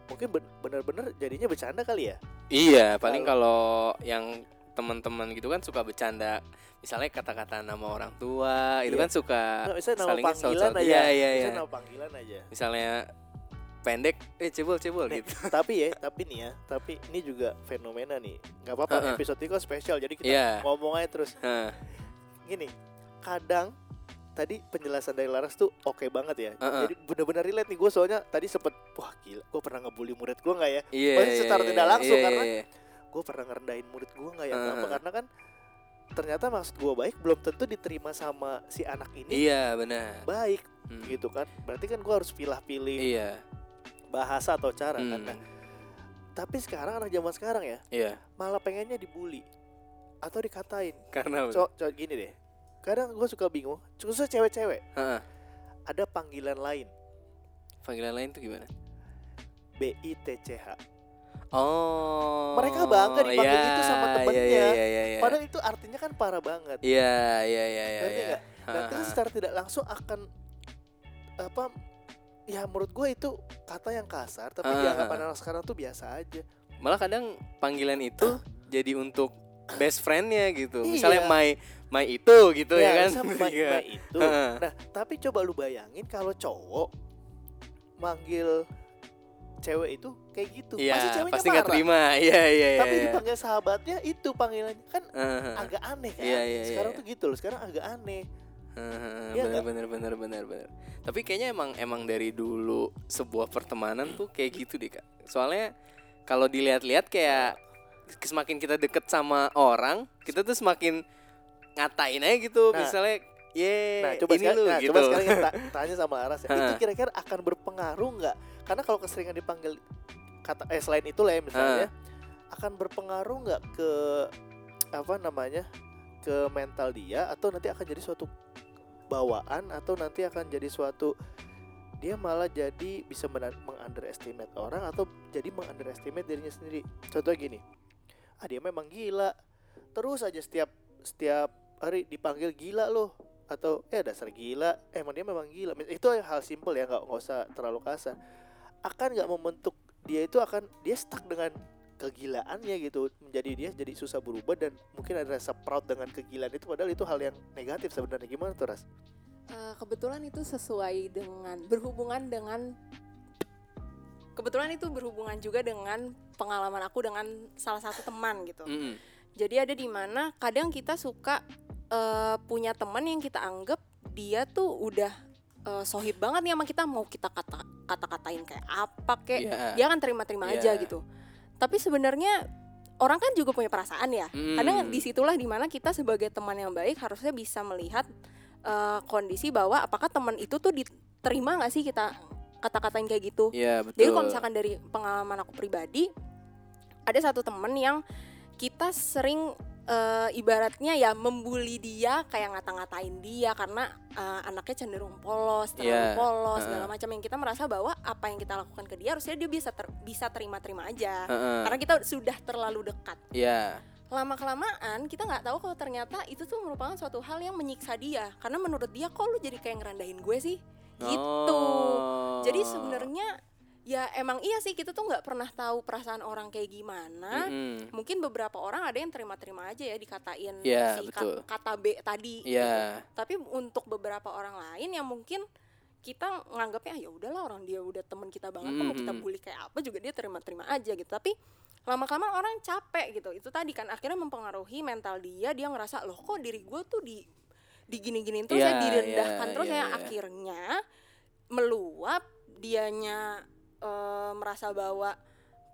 S4: mungkin ben- bener-bener jadinya bercanda kali ya.
S3: Iya, paling kalau yang teman-teman gitu kan suka bercanda. Misalnya kata-kata nama orang tua, itu
S4: Iya.
S3: kan suka
S4: Nah, misalnya nama
S3: saling
S4: panggilan aja.
S3: Iya, iya, iya.
S4: Misalnya nama panggilan aja.
S3: Misalnya pendek, eh cebol-cebol
S4: Nih,
S3: gitu.
S4: tapi ya, tapi nih ya, tapi ini juga fenomena nih. Gak apa-apa, kan
S3: Heeh.
S4: episode ini kok spesial, jadi kita
S3: Iya.
S4: ngomong aja terus.
S3: Heeh.
S4: Gini, kadang tadi penjelasan dari Laras tuh oke banget ya.
S3: Heeh.
S4: Jadi benar-benar relate nih gue soalnya tadi sempet wah gila gue pernah ngebully murid gue nggak ya?
S3: Iya.
S4: Pasti
S3: iya,
S4: secara
S3: iya,
S4: tidak langsung,
S3: iya,
S4: karena-
S3: iya.
S4: Gue pernah ngerendahin murid gue nggak ya?
S3: Heeh.
S4: Kenapa? Karena kan ternyata maksud gue baik belum tentu diterima sama si anak ini
S3: Iya benar.
S4: baik
S3: Hmm.
S4: gitu kan. Berarti kan gue harus pilih-pilih
S3: Iya.
S4: bahasa atau cara kan.
S3: Hmm.
S4: Nah, tapi sekarang anak zaman sekarang ya
S3: Iya.
S4: malah pengennya dibully atau dikatain.
S3: Karena.
S4: Cowok cowok gini deh. Kadang gue suka bingung, khususnya cewek-cewek
S3: Heeh.
S4: ada panggilan lain
S3: Panggilan lain tuh gimana?
S4: BITCH.
S3: Oh.
S4: Mereka bangga dipanggil
S3: iya,
S4: gitu sama temennya.
S3: Iya iya iya. Iya
S4: Padahal itu artinya kan parah banget.
S3: iya iya iya. iya,
S4: Ngerti
S3: iya.
S4: nggak? Nah, itu
S3: Heeh.
S4: secara tidak langsung akan apa? Ya menurut gue itu kata yang kasar, tapi
S3: Ah,
S4: di
S3: ah,
S4: anggapan anak sekarang tuh biasa aja.
S3: Malah kadang panggilan itu jadi untuk best friendnya gitu.
S4: Iya.
S3: Misalnya my my itu gitu ya, kan.
S4: bisa ma-
S3: Iya.
S4: ma- itu.
S3: Heeh.
S4: Nah, tapi coba lu bayangin kalau cowok manggil cewek itu kayak gitu,
S3: Iya,
S4: pasti ceweknya
S3: pasti
S4: marah.
S3: nggak terima. Iya iya iya.
S4: Tapi
S3: iya.
S4: dipanggil sahabatnya itu panggilannya kan
S3: Heeh.
S4: agak aneh kan.
S3: Iya, iya,
S4: sekarang
S3: iya.
S4: tuh gitu loh, sekarang agak aneh.
S3: Heeh,
S4: Iya
S3: bener
S4: nggak?
S3: bener bener bener bener. Tapi kayaknya emang emang dari dulu sebuah pertemanan tuh kayak gitu deh kak. Soalnya kalau dilihat-lihat kayak semakin kita deket sama orang, kita tuh semakin ngatain aja gitu.
S4: Nah.
S3: Misalnya, ye,
S4: Nah, coba
S3: ini
S4: sekarang,
S3: lu
S4: nah,
S3: gitu.
S4: coba sekarang kita ta- tanya sama Laras ya. itu
S3: Heeh.
S4: kira-kira akan berpengaruh nggak? Karena kalau keseringan dipanggil kata eh selain itu lah ya misalnya, akan berpengaruh nggak ke apa namanya ke mental dia atau nanti akan jadi suatu bawaan atau nanti akan jadi suatu dia malah jadi bisa mena- mengunderestimate orang atau jadi mengunderestimate dirinya sendiri. Contohnya gini, ah dia memang gila. Terus aja setiap setiap hari dipanggil gila loh atau eh dasar gila emang dia memang gila Mis- itu hal simpel ya nggak nggak usah terlalu kasar akan nggak membentuk dia itu akan dia stuck dengan kegilaannya gitu menjadi dia jadi susah berubah dan mungkin ada rasa proud dengan kegilaan itu padahal itu hal yang negatif sebenarnya gimana tuh ras
S5: Eh, kebetulan itu sesuai dengan berhubungan dengan kebetulan itu berhubungan juga dengan pengalaman aku dengan salah satu teman gitu.
S3: Mm-mm.
S5: Jadi ada di mana kadang kita suka eh, punya teman yang kita anggap dia tuh udah eh, sohib banget nih sama kita mau kita kata kata-katain kayak apa kayak
S3: Iya.
S5: dia kan terima-terima aja
S3: Iya.
S5: gitu. Tapi sebenarnya orang kan juga punya perasaan ya.
S3: Mm.
S5: Kadang disitulah dimana kita sebagai teman yang baik harusnya bisa melihat eh, kondisi bahwa apakah teman itu tuh diterima nggak sih kita kata-katain kayak gitu.
S3: Iya betul.
S5: Jadi kalau misalkan dari pengalaman aku pribadi, ada satu temen yang kita sering eh, ibaratnya ya membuli dia, kayak ngata-ngatain dia karena eh, anaknya cenderung polos, terlalu
S3: Iya,
S5: polos, segala
S3: heeh.
S5: macam yang kita merasa bahwa apa yang kita lakukan ke dia harusnya dia bisa ter- bisa terima-terima aja.
S3: Heeh,
S5: Karena kita sudah terlalu dekat.
S3: Iya.
S5: Lama kelamaan kita nggak tahu kalau ternyata itu tuh merupakan suatu hal yang menyiksa dia. Karena menurut dia kok lu jadi kayak ngerendahin gue sih. Gitu.
S3: Oh.
S5: Jadi sebenarnya ya emang iya sih kita tuh nggak pernah tahu perasaan orang kayak gimana.
S3: Mm-mm.
S5: Mungkin beberapa orang ada yang terima-terima aja ya dikatain
S3: Iya,
S5: si kat-
S3: betul.
S5: kata B tadi.
S3: Iya.
S5: gitu. Tapi untuk beberapa orang lain yang mungkin kita nganggapnya "Ah, ya udahlah orang dia udah teman kita banget kok mau kita
S3: Mm-mm.
S5: bully kayak apa juga dia terima-terima aja gitu. Tapi lama-kelamaan orang capek gitu. Itu tadi kan akhirnya mempengaruhi mental dia, dia ngerasa loh kok diri gue tuh di digini-giniin terus ya
S3: Iya,
S5: direndahkan
S3: iya,
S5: terus
S3: iya,
S5: ya
S3: iya.
S5: akhirnya meluap dianya eh, merasa bahwa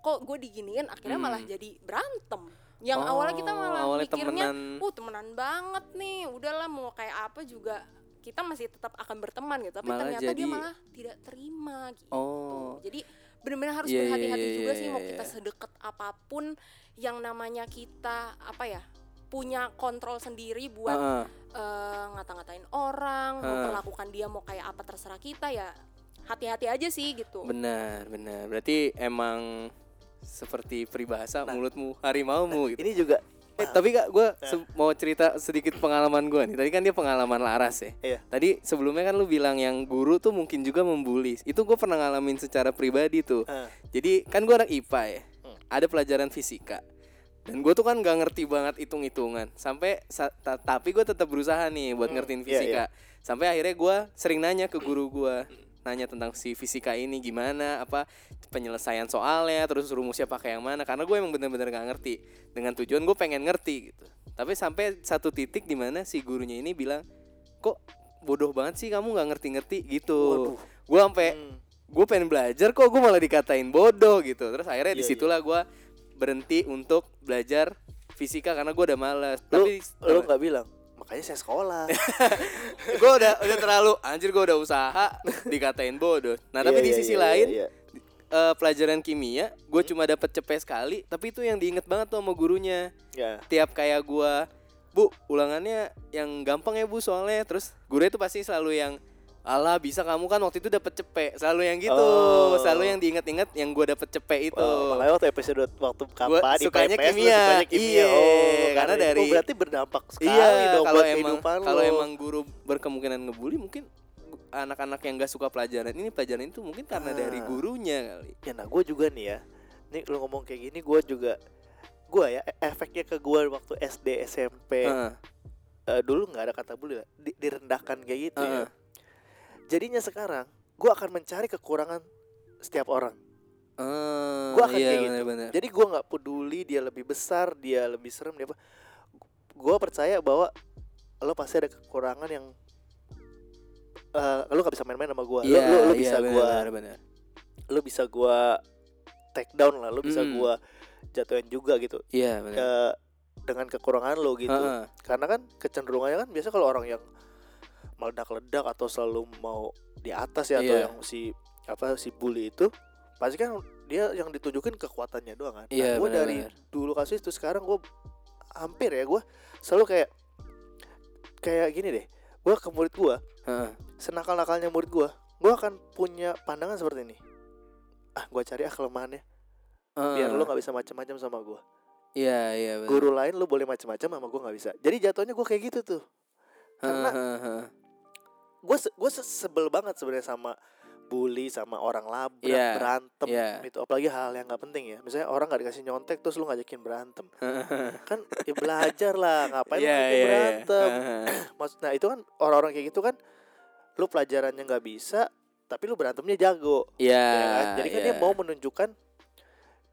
S5: kok gue diginiin akhirnya malah
S3: Hmm.
S5: jadi berantem yang awalnya kita
S3: Oh,
S5: malah
S3: awalnya
S5: mikirnya
S3: temenan.
S5: uh temenan banget nih udahlah mau kayak apa juga kita masih tetap akan berteman gitu tapi
S3: Malah
S5: ternyata dia
S3: jadi-
S5: malah tidak terima gitu
S3: Oh.
S5: jadi benar-benar harus
S3: Iya, iya,
S5: berhati-hati
S3: iya,
S5: juga
S3: iya,
S5: sih mau
S3: iya,
S5: kita
S3: iya.
S5: sedekat apapun yang namanya kita apa ya punya kontrol sendiri buat
S3: Heeh.
S5: eh, ngata-ngatain orang,
S3: Heeh.
S5: memperlakukan dia mau kayak apa terserah kita ya hati-hati aja sih gitu.
S3: Benar, benar. Berarti emang seperti peribahasa
S4: Nah.
S3: mulutmu harimaumu gitu.
S4: ini juga
S3: Eh, tapi kak, gue mau cerita sedikit pengalaman gue nih. Tadi kan dia pengalaman Laras ya.
S4: Iya.
S3: Tadi sebelumnya kan lu bilang yang guru tuh mungkin juga membuli. Itu gue pernah ngalamin secara pribadi tuh.
S4: eh,
S3: Jadi kan gue anak IPA ya.
S4: Hmm.
S3: Ada pelajaran fisika. Dan gue tuh kan gak ngerti banget hitung-hitungan. Sampai sa- ta- tapi gue tetap berusaha nih buat
S4: Hmm,
S3: ngertiin
S4: iya,
S3: fisika. Sampai akhirnya gue sering nanya ke guru gue, nanya tentang si fisika ini gimana, apa penyelesaian soalnya, terus rumusnya pakai yang mana. Karena gue emang bener-bener gak ngerti. Dengan tujuan gue pengen ngerti gitu. Tapi sampai satu titik dimana si gurunya ini bilang, kok bodoh banget sih kamu nggak ngerti-ngerti gitu
S4: Waduh.
S3: gue sampai
S4: Hmm.
S3: gue pengen belajar kok gue malah dikatain bodoh gitu terus akhirnya
S4: Iya,
S3: disitulah gue berhenti untuk belajar fisika karena gue udah malas
S4: Lu,
S3: tapi
S4: lu nggak bilang. Makanya saya sekolah.
S3: Iya, gue udah udah terlalu anjir gue udah usaha dikatain bodoh nah tapi
S4: Iya,
S3: di
S4: iya,
S3: sisi
S4: iya,
S3: lain
S4: iya.
S3: eh, pelajaran kimia gue cuma dapat cepet sekali tapi itu yang diinget banget tuh sama gurunya
S4: Ya.
S3: tiap kayak gua bu ulangannya yang gampang ya bu soalnya terus gurunya tuh pasti selalu yang Alah bisa kamu kan waktu itu dapat cepet selalu yang gitu
S4: Oh.
S3: selalu yang diinget-inget yang gua dapat cepet itu
S4: Wah, makanya waktu eh, episode waktu kapan
S3: Gitu. Gua
S4: di
S3: sukanya
S4: PPS, lu
S3: kimia.
S4: sukanya kimia.
S3: Iya,
S4: oh,
S3: karena
S4: itu
S3: dari-
S4: berarti berdampak sekali
S3: iya
S4: dong
S3: kalau
S4: buat
S3: emang
S4: kehidupan
S3: kalau
S4: lu.
S3: emang guru berkemungkinan ngebully mungkin anak-anak yang gak suka pelajaran ini pelajaran itu mungkin karena
S4: Ah.
S3: dari gurunya kali
S4: ya nah gue juga nih ya nih lu ngomong kayak gini gue juga gue ya e- efeknya ke gue waktu SD SMP
S3: Heeh.
S4: eh, dulu nggak ada kata bully lah di- direndahkan kayak gitu ya
S3: Heeh.
S4: jadinya sekarang gue akan mencari kekurangan setiap orang
S3: Eh,
S4: Gua akan
S3: iya,
S4: kayak gitu.
S3: bener-bener.
S4: jadi gue nggak peduli dia lebih besar dia lebih serem dia apa gue percaya bahwa lo pasti ada kekurangan yang eh, lo gak bisa main-main sama gue lo,
S3: Iya,
S4: lo, lo
S3: iya,
S4: bisa gue
S3: bener-bener.
S4: lo bisa gue take down lah lo bisa
S3: Mm.
S4: gue jatuhin juga gitu
S3: iya bener.
S4: eh, dengan kekurangan lo gitu
S3: Heeh.
S4: karena kan kecenderungannya kan biasa kalau orang yang meledak-ledak atau selalu mau di atas ya atau
S3: Iya.
S4: yang si apa si bully itu pasti kan dia yang ditunjukin kekuatannya doang kan.
S3: Iya,
S4: gue dari
S3: benar-benar.
S4: dulu kasus itu sekarang gue hampir ya gue selalu kayak kayak gini deh. Gue ke murid gue,
S3: Heeh.
S4: senakal-nakalnya murid gue, gue akan punya pandangan seperti ini. Ah, gue cari ah kelemahannya biar
S3: Heeh.
S4: lo nggak bisa macam-macam sama gue.
S3: iya iya bener.
S4: Guru lain lo boleh macam-macam sama gue nggak bisa. Jadi jatuhnya gue kayak gitu tuh. karena-
S3: Heeh, heeh.
S4: gue gue sebel banget sebenarnya sama bully sama orang labrak
S3: Iya,
S4: berantem
S3: iya.
S4: itu apalagi hal yang nggak penting ya misalnya orang nggak dikasih nyontek terus lu ngajakin berantem kan ya belajar lah ngapain lu
S3: Iya,
S4: ngajakin
S3: iya, iya.
S4: berantem
S3: Heeh.
S4: Maksud- nah itu kan orang-orang kayak gitu kan lu pelajarannya nggak bisa tapi lu berantemnya jago
S3: Iya.
S4: ya kan? jadi kan dia
S3: iya.
S4: mau menunjukkan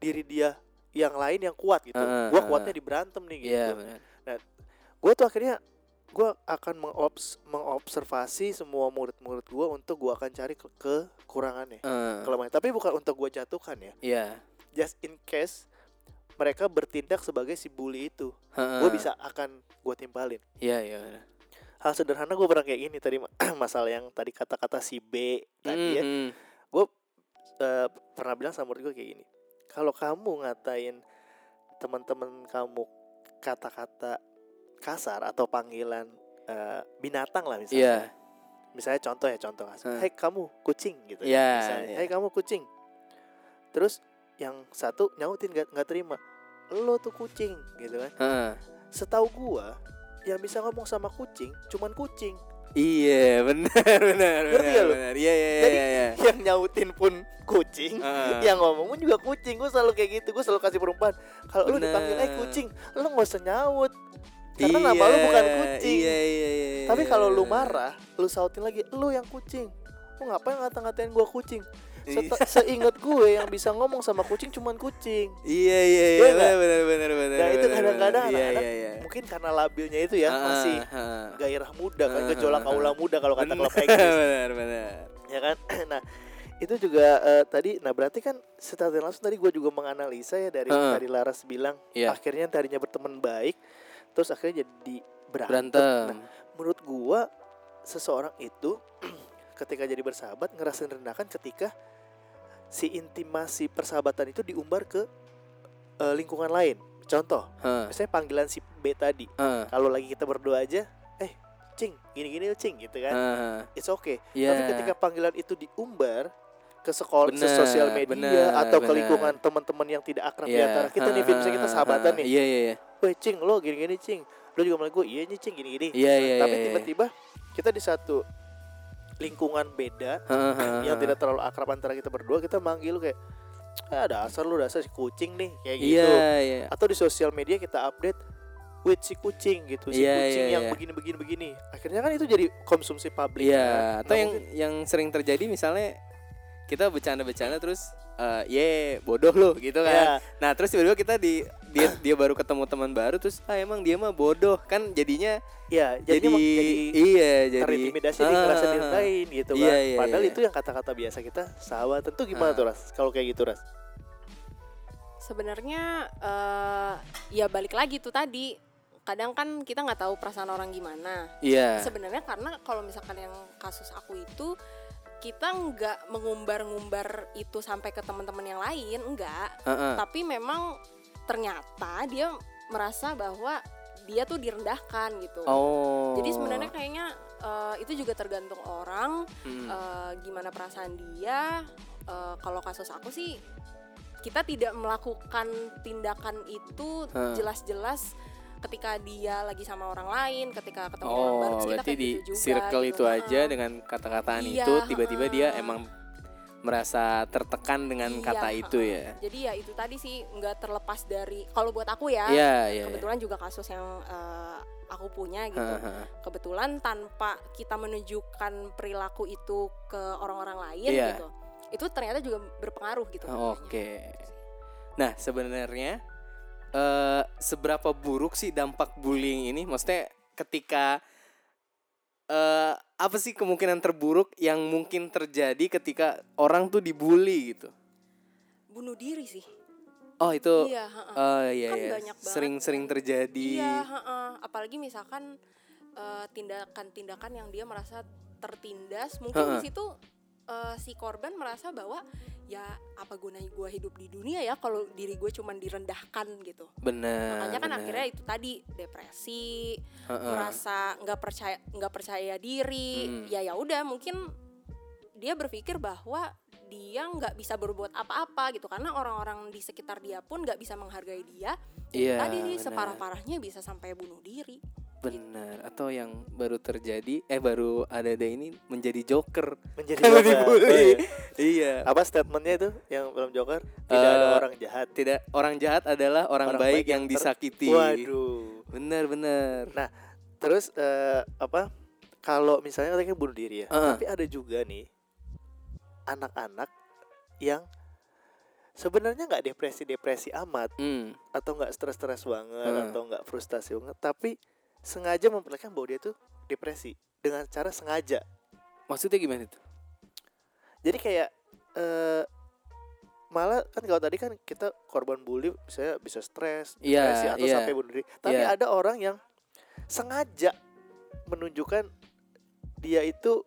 S4: diri dia yang lain yang kuat gitu
S3: Heeh,
S4: gua
S3: heeh.
S4: kuatnya di berantem nih gitu
S3: Iya benar.
S4: gue tuh akhirnya gue akan mengobs mengobservasi semua murid-murid gue untuk gue akan cari ke kekurangannya
S3: Eh,
S4: kelemahannya tapi bukan untuk gue jatuhkan ya
S3: Iya.
S4: just in case mereka bertindak sebagai si bully itu gue
S3: Heeh.
S4: bisa akan gue timpalin
S3: Iya iya. benar.
S4: hal sederhana gue pernah kayak gini tadi ma- masalah yang tadi kata-kata si B tadi ya
S3: Mm, mm.
S4: eh, pernah bilang sama murid gue kayak gini kalau kamu ngatain teman-teman kamu kata-kata kasar atau panggilan eh, binatang lah misalnya
S3: Iya.
S4: misalnya contoh ya contoh asal.
S3: Hmm.
S4: Hai kamu kucing gitu.
S3: Iya,
S4: Misalnya,
S3: iya.
S4: Hai kamu kucing. Terus yang satu nyautin gak, nggak terima. Lo tuh kucing gitu kan.
S3: Heeh.
S4: Setahu gua yang bisa ngomong sama kucing cuman kucing.
S3: Iya benar benar. benar,
S4: Ngerti gak lu?
S3: benar. Iya iya
S4: Jadi-
S3: iya. iya.
S4: Yang nyautin pun kucing,
S3: Heeh.
S4: yang ngomong pun juga kucing. Gua selalu kayak gitu. Gua selalu kasih perumpamaan. Kalau lu
S3: Bener.
S4: dipanggil eh kucing, lu nggak usah nyaut. Karena nama lu
S3: Iya,
S4: bukan kucing.
S3: Iya iya iya. iya,
S4: Tapi kalau lu
S3: iya.
S4: marah, lu sautin lagi, lu yang kucing. Lu ngapain ngata-ngatain gua kucing?
S3: Iya.
S4: Seta- seingat gue yang bisa ngomong sama kucing cuman kucing.
S3: Iya iya
S4: Iya
S3: iya
S4: nggak?
S3: benar benar benar benar.
S4: Nah, itu
S3: benar,
S4: kadang-kadang
S3: benar. Iya
S4: anak-anak
S3: iya iya.
S4: Mungkin karena labilnya itu ya
S3: Heeh,
S4: masih
S3: heeh.
S4: gairah muda kan
S3: Ah,
S4: gejolak
S3: ah,
S4: aula muda kalau gitu kata klub Inggris
S3: Benar benar.
S4: ya kan. Nah, itu juga eh, tadi nah berarti kan secara tidak langsung tadi gue juga menganalisa ya dari
S3: Heeh.
S4: dari Laras bilang
S3: Ah. Iya.
S4: akhirnya yang tadinya berteman baik terus akhirnya jadi berantem.
S3: Berantem.
S4: Nah. Menurut gua seseorang itu ketika jadi bersahabat ngerasain rendahkan ketika si intimasi persahabatan itu diumbar ke eh, lingkungan lain. Contoh,
S3: Heeh.
S4: misalnya panggilan si B tadi.
S3: Heeh.
S4: Kalau lagi kita berdua aja, eh, cing, gini-gini lu, cing gitu kan.
S3: Heeh.
S4: It's okay.
S3: Nah, Iya.
S4: Tapi ketika panggilan itu diumbar ke sekolah, ke
S3: Bener,
S4: sosial media
S3: bener,
S4: atau ke
S3: bener.
S4: lingkungan teman-teman yang tidak akrab di
S3: Iya.
S4: antara kita nih, Vin, misalnya kita
S3: Heeh,
S4: sahabatan
S3: heeh.
S4: nih.
S3: Iya iya iya.
S4: Weh, cing, lo gini-gini, cing. Lo juga mulai gue, iya nih, cing, gini-gini.
S3: Iya iya.
S4: Tapi
S3: iya, iya.
S4: tiba-tiba kita di satu lingkungan beda
S3: Heeh, heeh,
S4: yang
S3: heeh.
S4: tidak terlalu akrab antara kita berdua kita manggil lu kayak ah dasar lu dasar si kucing nih kayak gitu
S3: Iya iya.
S4: atau di sosial media kita update with si kucing gitu si
S3: Iya,
S4: kucing
S3: iya,
S4: yang
S3: iya.
S4: begini begini begini akhirnya kan itu jadi konsumsi publik
S3: Iya,
S4: kan?
S3: atau
S4: Nah,
S3: yang
S4: mungkin-
S3: yang sering terjadi misalnya kita bercanda-bercanda terus eh ye bodoh lu gitu kan.
S4: Iya.
S3: Nah, terus tiba-tiba kita di dia dia baru ketemu teman baru terus ah emang dia mah bodoh kan jadinya
S4: ya
S3: jadi,
S4: jadi jadi
S3: iya jadi
S4: terintimidasi dia ngerasa
S3: Ah,
S4: direndahin gitu kan
S3: Iya, iya,
S4: padahal
S3: iya.
S4: itu yang kata-kata biasa kita sahabat tentu gimana
S3: Ah.
S4: tuh ras kalau kayak gitu ras
S5: sebenarnya eh, ya balik lagi tuh tadi kadang kan kita nggak tahu perasaan orang gimana
S3: iya
S5: sebenarnya karena kalau misalkan yang kasus aku itu kita nggak mengumbar-ngumbar itu sampai ke teman-teman yang lain enggak
S3: Heeh.
S5: tapi memang ternyata dia merasa bahwa dia tuh direndahkan gitu
S3: oh
S5: jadi sebenarnya kayaknya eh, itu juga tergantung orang
S3: Mm.
S5: eh, gimana perasaan dia Eh, kalau kasus aku sih kita tidak melakukan tindakan itu
S3: Hah.
S5: jelas-jelas ketika dia lagi sama orang lain ketika ketemu orang baru
S3: Oh,
S5: terus kita
S3: berarti
S5: kayak
S3: di
S5: gitu juga,
S3: circle
S5: gitu.
S3: itu aja
S5: Heeh.
S3: dengan kata-kataan
S5: Iya,
S3: itu tiba-tiba dia
S5: heeh.
S3: emang merasa tertekan dengan
S5: Iya,
S3: kata itu
S5: heeh.
S3: ya.
S5: jadi ya itu tadi sih nggak terlepas dari kalau buat aku ya
S3: Iya, iya. iya.
S5: kebetulan juga kasus yang eh, aku punya gitu
S3: Heeh, heeh.
S5: kebetulan tanpa kita menunjukkan perilaku itu ke orang-orang lain
S3: Iya.
S5: gitu itu ternyata juga berpengaruh gitu
S3: Oh, Oke. Nah, sebenarnya eh seberapa buruk sih dampak bullying ini? Maksudnya ketika eh apa sih kemungkinan terburuk yang mungkin terjadi ketika orang tuh dibully gitu?
S5: bunuh diri sih
S3: Oh, itu
S5: iya heeh.
S3: eh iya
S5: Kan
S3: iya,
S5: banyak banget
S3: sering-sering
S5: kan.
S3: terjadi.
S5: iya heeh. apalagi misalkan eh, tindakan-tindakan yang dia merasa tertindas mungkin
S3: Heeh.
S5: di situ eh, si korban merasa bahwa ya apa gunanya gue hidup di dunia ya kalau diri gue cuman direndahkan gitu
S3: Benar.
S5: makanya kan
S3: Nah, benar.
S5: akhirnya itu tadi depresi
S3: Heeh.
S5: merasa nggak percaya nggak percaya diri
S3: Hmm.
S5: ya ya udah mungkin dia berpikir bahwa dia nggak bisa berbuat apa-apa gitu karena orang-orang di sekitar dia pun nggak bisa menghargai dia
S3: Iya.
S5: tadi nih
S3: benar,
S5: separah-parahnya bisa sampai bunuh diri
S3: Benar. Atau yang baru terjadi eh baru ada ada ini menjadi joker.
S4: menjadi
S3: Kalau
S4: jawaban.
S3: dibully.
S4: Oh, iya.
S3: Iya.
S4: apa statementnya itu yang film Joker tidak ada
S3: Eh,
S4: orang jahat
S3: Tidak orang jahat adalah orang,
S4: Orang
S3: baik,
S4: baik
S3: yang
S4: ter-
S3: disakiti.
S4: waduh
S3: Benar benar.
S4: Nah, terus eh, apa kalau misalnya katanya bunuh diri ya
S3: Heeh.
S4: tapi ada juga nih anak-anak yang sebenarnya nggak depresi-depresi amat
S3: Hmm.
S4: atau nggak stres-stres banget
S3: Heeh.
S4: atau nggak frustasi banget tapi sengaja memperlihatkan bahwa dia tuh depresi dengan cara sengaja
S3: Maksudnya gimana itu?
S4: jadi kayak eh malah kan kalau tadi kan kita korban bully misalnya bisa stres
S3: Iya,
S4: depresi atau
S3: iya.
S4: sampai bunuh diri tapi
S3: Iya.
S4: ada orang yang sengaja menunjukkan dia itu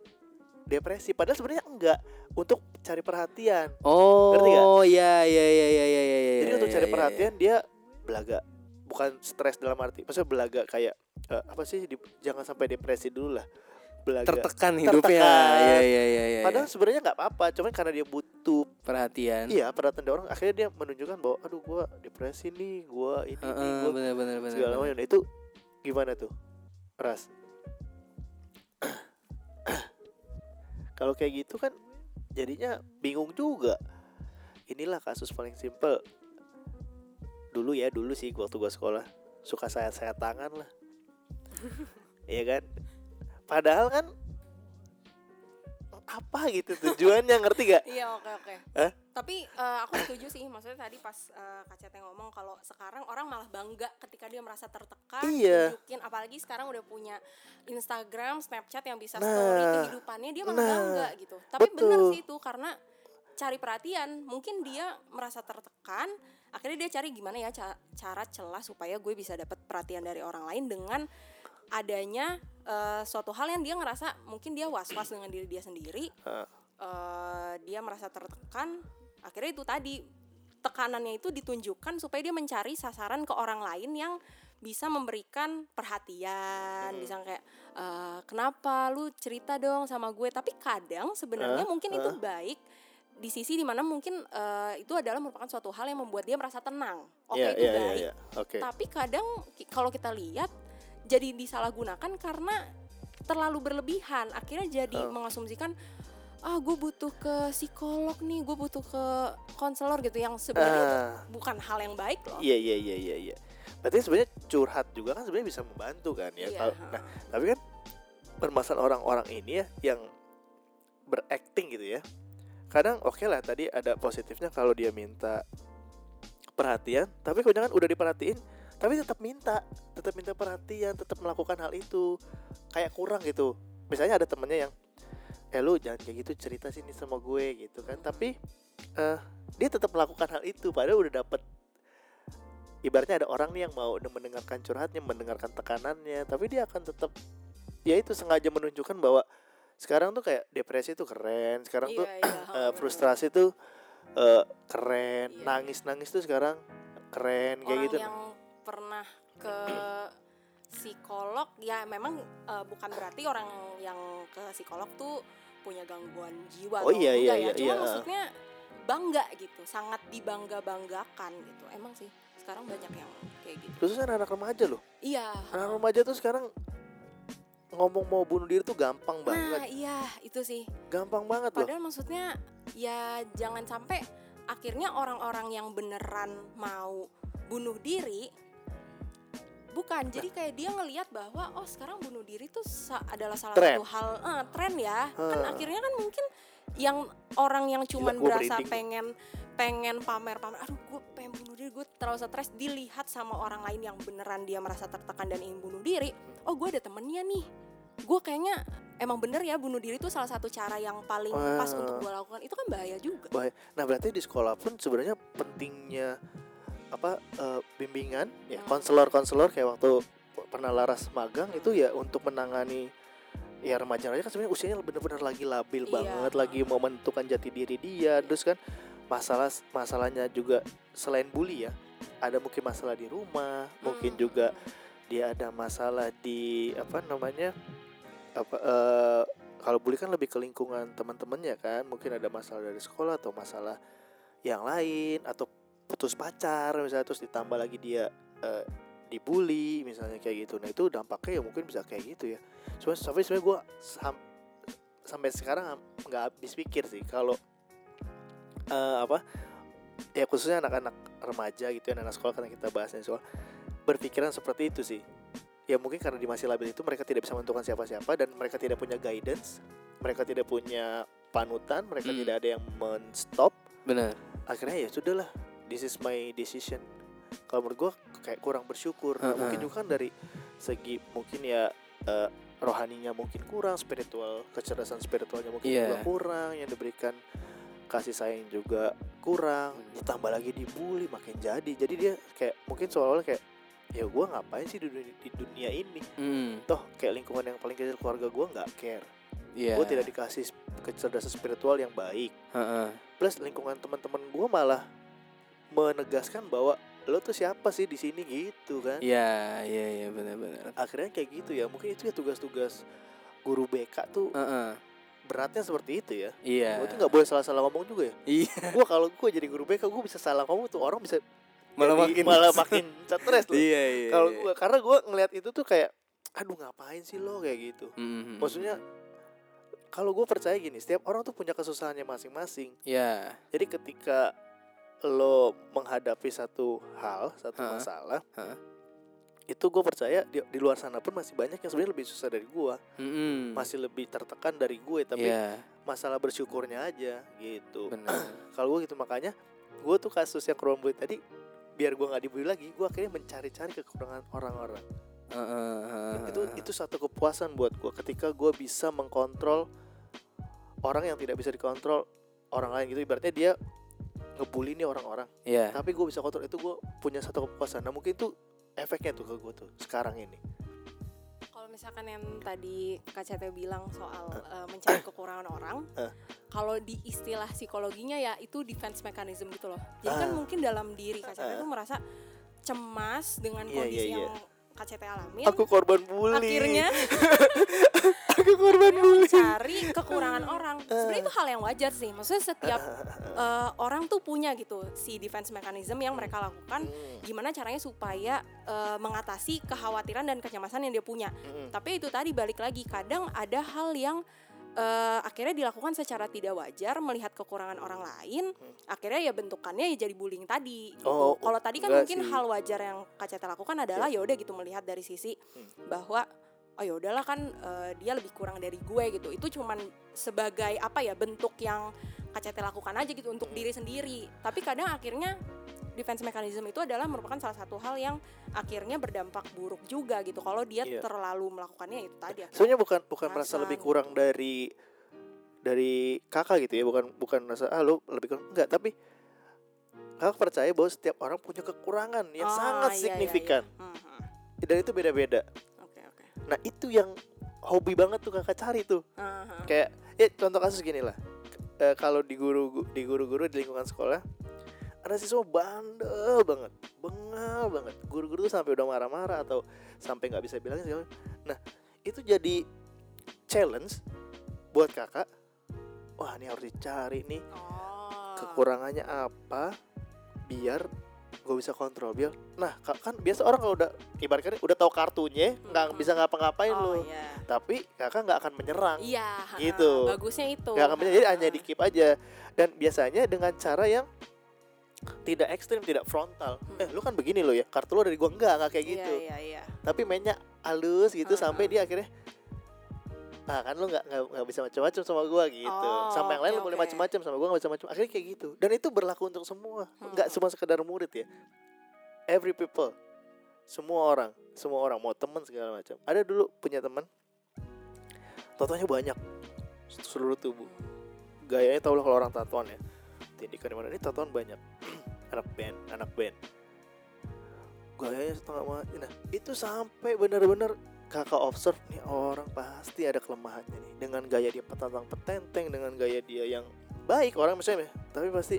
S4: depresi padahal sebenarnya enggak untuk cari perhatian
S3: Oh, iya iya iya iya iya iya.
S4: Jadi
S3: iya,
S4: untuk
S3: iya,
S4: cari
S3: iya,
S4: perhatian dia belaga, bukan stres dalam arti. Maksudnya belaga kayak eh, apa sih? di- jangan sampai depresi dulu lah.
S3: iya.
S4: Belaga.
S3: tertekan hidupnya.
S4: Tertekan.
S3: Iya iya iya iya.
S4: Padahal sebenarnya nggak apa-apa, cuman karena dia butuh
S3: perhatian.
S4: iya perhatian dari orang, akhirnya dia menunjukkan bahwa aduh gua depresi nih, gua ini nih,
S3: Heeh,
S4: gua
S3: benar benar benar.
S4: segala
S3: benar.
S4: macam. Nah, Itu gimana tuh? Ras. Kalau kayak gitu kan jadinya bingung juga. Inilah kasus paling simpel. Dulu ya, dulu sih waktu gua sekolah suka sayat-sayat tangan lah. Iya kan? Padahal kan apa gitu tujuannya ngerti gak?
S5: iya oke oke
S4: Hah?
S5: tapi eh, aku setuju sih maksudnya tadi pas eh, Kak Cete ngomong kalau sekarang orang malah bangga ketika dia merasa tertekan
S4: Iya.
S5: tunjukin. apalagi sekarang udah punya Instagram Snapchat yang bisa
S4: Nah.
S5: story kehidupannya dia malah
S4: Nah.
S5: bangga gitu tapi benar
S4: Betul.
S5: sih itu karena cari perhatian mungkin dia merasa tertekan akhirnya dia cari gimana ya ca- cara celah supaya gue bisa dapat perhatian dari orang lain dengan adanya eh, suatu hal yang dia ngerasa mungkin dia was-was dengan diri dia sendiri
S4: Heeh.
S5: Eh, dia merasa tertekan akhirnya itu tadi tekanannya itu ditunjukkan supaya dia mencari sasaran ke orang lain yang bisa memberikan perhatian
S4: Hmm.
S5: bisa kayak eh, kenapa lu cerita dong sama gue tapi kadang sebenarnya
S4: Eh,
S5: mungkin itu baik di sisi dimana mungkin eh, itu adalah merupakan suatu hal yang membuat dia merasa tenang oke
S4: Iya,
S5: itu
S4: iya, iya,
S5: baik
S4: iya. Oke.
S5: tapi kadang ki- kalau kita lihat jadi disalahgunakan karena terlalu berlebihan akhirnya jadi
S4: Oh.
S5: mengasumsikan ah gue butuh ke psikolog nih gue butuh ke konselor gitu yang sebenarnya
S4: Ah.
S5: bukan hal yang baik loh
S4: Iya iya iya iya iya. Berarti sebenarnya curhat juga kan sebenarnya bisa membantu kan ya.
S5: Iya.
S4: Kalau- Nah, tapi kan permasalahan orang-orang ini ya yang berakting gitu ya. Kadang oke lah tadi ada positifnya kalau dia minta perhatian tapi kebanyakan udah diperhatiin tapi tetap minta tetap minta perhatian tetap melakukan hal itu kayak kurang gitu misalnya ada temennya yang eh lu jangan kayak gitu cerita sini sama gue gitu kan tapi eh dia tetap melakukan hal itu padahal udah dapet ibaratnya ada orang nih yang mau mendengarkan curhatnya mendengarkan tekanannya tapi dia akan tetap ya itu sengaja menunjukkan bahwa sekarang tuh kayak depresi tuh keren
S5: Iya,
S4: sekarang tuh eh, frustrasi tuh eh,
S5: Iya,
S4: keren
S5: iya.
S4: nangis nangis tuh sekarang keren kayak
S5: orang
S4: gitu
S5: yang pernah ke psikolog ya memang eh, bukan berarti orang yang ke psikolog tuh punya gangguan jiwa
S4: Oh,
S5: atau
S4: iya,
S5: enggak
S4: iya,
S5: ya
S4: iya,
S5: cuma
S4: iya.
S5: maksudnya bangga gitu sangat dibangga banggakan gitu emang sih sekarang banyak yang kayak gitu
S4: khususnya anak remaja loh
S5: iya
S4: anak remaja tuh sekarang ngomong mau bunuh diri tuh
S5: nah
S4: gampang banget
S5: iya itu sih
S4: gampang banget loh
S5: Padahal kan maksudnya ya jangan sampai akhirnya orang-orang yang beneran mau bunuh diri bukan
S4: Nah.
S5: jadi kayak dia ngelihat bahwa oh sekarang bunuh diri tuh sa- adalah salah
S4: Tren.
S5: satu hal eh, tren ya kan
S4: Hmm.
S5: akhirnya kan mungkin yang orang yang cuman
S4: gua
S5: berasa
S4: merinding.
S5: pengen pengen pamer pamer aduh gue pengen bunuh diri gue terlalu stres dilihat sama orang lain yang beneran dia merasa tertekan dan ingin bunuh diri oh gue ada temennya nih gue kayaknya emang bener ya bunuh diri itu salah satu cara yang paling pas
S4: Wah.
S5: untuk gue lakukan itu kan bahaya juga
S4: Bahaya. Nah berarti di sekolah pun sebenarnya pentingnya apa eh, bimbingan ya
S5: Hmm.
S4: konselor-konselor kayak waktu pernah Laras magang itu ya untuk menangani ya remaja-remaja kan sebenarnya usianya benar-benar lagi
S5: Iya.
S4: labil banget, lagi mau menentukan jati diri dia, terus kan masalah masalahnya juga selain bully ya ada mungkin masalah di rumah, mungkin
S5: Hmm,
S4: juga
S5: hmm.
S4: dia ada masalah di apa namanya apa eh, kalau bully kan lebih ke lingkungan teman-temannya kan mungkin ada masalah dari sekolah atau masalah yang lain atau putus pacar misalnya terus ditambah lagi dia eh, dibully misalnya kayak gitu nah itu dampaknya ya mungkin bisa kayak gitu ya cuma tapi sebenarnya gue sampai sekarang ham- nggak habis pikir sih kalau eh, apa ya khususnya anak-anak remaja gitu ya anak sekolah karena kita bahasnya soal berpikiran seperti itu sih ya mungkin karena di masih labil itu mereka tidak bisa menentukan siapa-siapa dan mereka tidak punya guidance mereka tidak punya panutan mereka
S3: Hmm.
S4: tidak ada yang men-stop
S3: Benar.
S4: akhirnya ya sudahlah this is my decision kalau menurut gue kayak kurang bersyukur Nah, mungkin juga kan dari segi mungkin ya eh, rohaninya mungkin kurang spiritual kecerdasan spiritualnya mungkin
S3: Iya.
S4: juga kurang yang diberikan kasih sayang juga kurang
S3: Hmm.
S4: ditambah lagi dibully makin jadi jadi dia kayak mungkin seolah-olah kayak ya gue ngapain sih di dunia, di dunia ini
S3: Hmm.
S4: toh kayak lingkungan yang paling kecil keluarga gue nggak care
S3: Iya.
S4: gue tidak dikasih sp- kecerdasan spiritual yang baik
S3: Heeh.
S4: plus lingkungan teman-teman gue malah menegaskan bahwa lo tuh siapa sih di sini gitu kan
S3: Iya, iya, iya benar-benar.
S4: akhirnya kayak gitu ya mungkin itu ya tugas-tugas guru BK tuh
S3: Heeh.
S4: beratnya seperti itu ya
S3: Iya.
S4: gue tuh nggak boleh salah-salah ngomong juga ya
S3: Iya,
S4: gue kalau gue jadi guru BK gue bisa salah ngomong tuh orang bisa
S3: malah
S4: jadi-
S3: makin
S4: malah makin stres loh
S3: Iya, iya.
S4: gitu. kalau
S3: iya.
S4: gue karena gue ngelihat itu tuh kayak aduh ngapain sih
S3: Hmm.
S4: lo kayak gitu
S3: Mm-mm.
S4: maksudnya kalau gue percaya gini setiap orang tuh punya kesusahannya masing-masing
S3: Iya.
S4: Jadi ketika lo menghadapi satu hal, satu
S3: Heeh.
S4: masalah,
S3: Heeh.
S4: itu gue percaya di, di luar sana pun masih banyak yang sebenarnya lebih susah dari gue,
S3: Mm-mm.
S4: masih lebih tertekan dari gue, tapi
S3: Hmm. Iya,
S4: masalah bersyukurnya aja gitu.
S3: benar.
S4: Kalau gue gitu makanya, gue tuh kasus yang Chromebook tadi, biar gue nggak dibully lagi, gue akhirnya mencari-cari kekurangan orang-orang.
S3: Heeh, heeh,
S4: Itu itu satu kepuasan buat gue ketika gue bisa mengkontrol orang yang tidak bisa dikontrol orang lain gitu. Ibaratnya dia ngebully nih orang-orang
S3: Iya.
S4: tapi gue bisa kontrol itu gue punya satu kepuasan nah mungkin itu efeknya tuh ke gue tuh sekarang ini
S5: kalau misalkan yang tadi KCT bilang soal eh, mencari kekurangan orang
S4: Eh.
S5: kalau di istilah psikologinya ya itu defense mechanism gitu loh jadi kan
S4: Ah.
S5: mungkin dalam diri KCT
S4: Ah.
S5: tuh merasa cemas dengan
S4: Iya,
S5: kondisi
S4: iya, iya.
S5: yang KCT alami
S4: aku korban bully
S5: akhirnya
S4: aku korban Eh. bully
S5: cari kekurangan orang. Sebenarnya itu hal yang wajar sih. Maksudnya setiap eh, orang tuh punya gitu si defense mechanism yang mereka lakukan.
S4: Hmm,
S5: Gimana caranya supaya eh, mengatasi kekhawatiran dan kecemasan yang dia punya.
S4: hmm,
S5: Tapi itu tadi balik lagi kadang ada hal yang eh, akhirnya dilakukan secara tidak wajar melihat kekurangan orang lain. Akhirnya ya bentukannya ya jadi bullying tadi. gitu.
S4: Hmm. Oh,
S5: Kalau tadi kan
S4: enggak
S5: mungkin
S4: sih. Iya.
S5: hal wajar yang KCT lakukan adalah ya udah gitu melihat dari sisi
S4: Hmm.
S5: bahwa oh ya udahlah kan eh, dia lebih kurang dari gue gitu. Itu cuman sebagai apa ya bentuk yang KCT lakukan aja gitu untuk diri sendiri. Tapi kadang akhirnya defense mechanism itu adalah merupakan salah satu hal yang akhirnya berdampak buruk juga gitu kalau dia
S4: Iya.
S5: terlalu melakukannya ya itu tadi akhirnya
S4: Sebenarnya bukan bukan merasa
S5: Perasaan
S4: lebih
S5: gitu.
S4: kurang dari dari kakak gitu ya, bukan bukan merasa ah lu lebih kurang enggak, tapi kakak percaya bahwa setiap orang punya kekurangan yang
S5: Ah,
S4: ya, sangat
S5: iya, iya,
S4: signifikan
S5: iya. Mhm.
S4: dan itu beda-beda.
S5: oke oke
S4: Nah itu yang hobi banget tuh kakak cari tuh.
S5: Aha.
S4: Kayak ya contoh kasus gini lah. Eh, kalau di guru di guru-guru di lingkungan sekolah ada siswa bandel banget, bengal banget. Guru-guru tuh sampai udah marah-marah atau sampai nggak bisa bilangin segala macam. Nah itu jadi challenge buat kakak. Wah ini harus dicari nih
S5: oh
S4: kekurangannya apa biar gue bisa kontrol biar nah ka- kan biasa orang kalau udah ibaratnya udah tahu kartunya nggak
S5: Mhm.
S4: bisa ngapa-ngapain
S5: oh
S4: lo
S5: iya
S4: tapi kakak nggak akan menyerang
S5: iya ha-ha.
S4: Gitu.
S5: bagusnya itu Iya,
S4: nggak akan menyerang jadi hanya
S5: Ha-ha.
S4: di keep aja dan biasanya dengan cara yang tidak ekstrim tidak frontal
S5: Hmm.
S4: eh lu kan begini lo ya kartu lo dari gua enggak nggak kayak gitu
S5: iya iya iya
S4: tapi mainnya halus gitu
S5: Ah,
S4: sampai dia akhirnya ah kan lu nggak nggak- nggak bisa macam-macam sama gua gitu
S5: Oh,
S4: sama yang lain
S5: oke,
S4: lu boleh
S5: oke.
S4: macam-macam sama gua nggak bisa macam akhirnya kayak gitu dan itu berlaku untuk semua nggak
S5: Hmm.
S4: cuma sekedar murid ya every people semua orang semua orang mau temen segala macam ada dulu punya teman tatoannya banyak seluruh tubuh
S5: Hmm.
S4: gayanya tau lah kalau orang tatoan ya tindikan di mana ini tatoan banyak anak band anak band gayanya setengah mati nah itu sampai benar-benar kakak observe nih orang pasti ada kelemahannya nih dengan gaya dia petantang petenteng dengan gaya dia yang baik orang misalnya ya. tapi pasti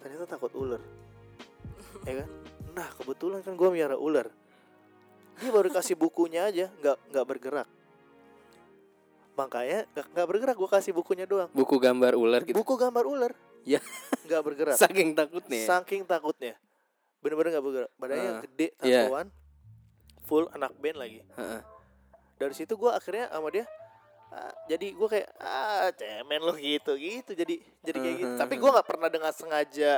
S4: ternyata takut ular ya kan nah kebetulan kan gue miara ular dia baru kasih bukunya aja nggak nggak bergerak makanya nggak- nggak bergerak gue kasih bukunya doang
S3: Buku gambar ular gitu.
S4: buku gambar ular
S3: Ya.
S4: nggak bergerak
S3: Saking takutnya. ya.
S4: saking takutnya bener-bener nggak bergerak badannya
S3: Ah,
S4: gede
S3: iya.
S4: tatoan full anak band lagi
S3: Heeh.
S4: dari situ gue akhirnya sama dia ah, jadi gue kayak ah cemen lo gitu gitu jadi jadi kayak gitu tapi gue nggak pernah dengan sengaja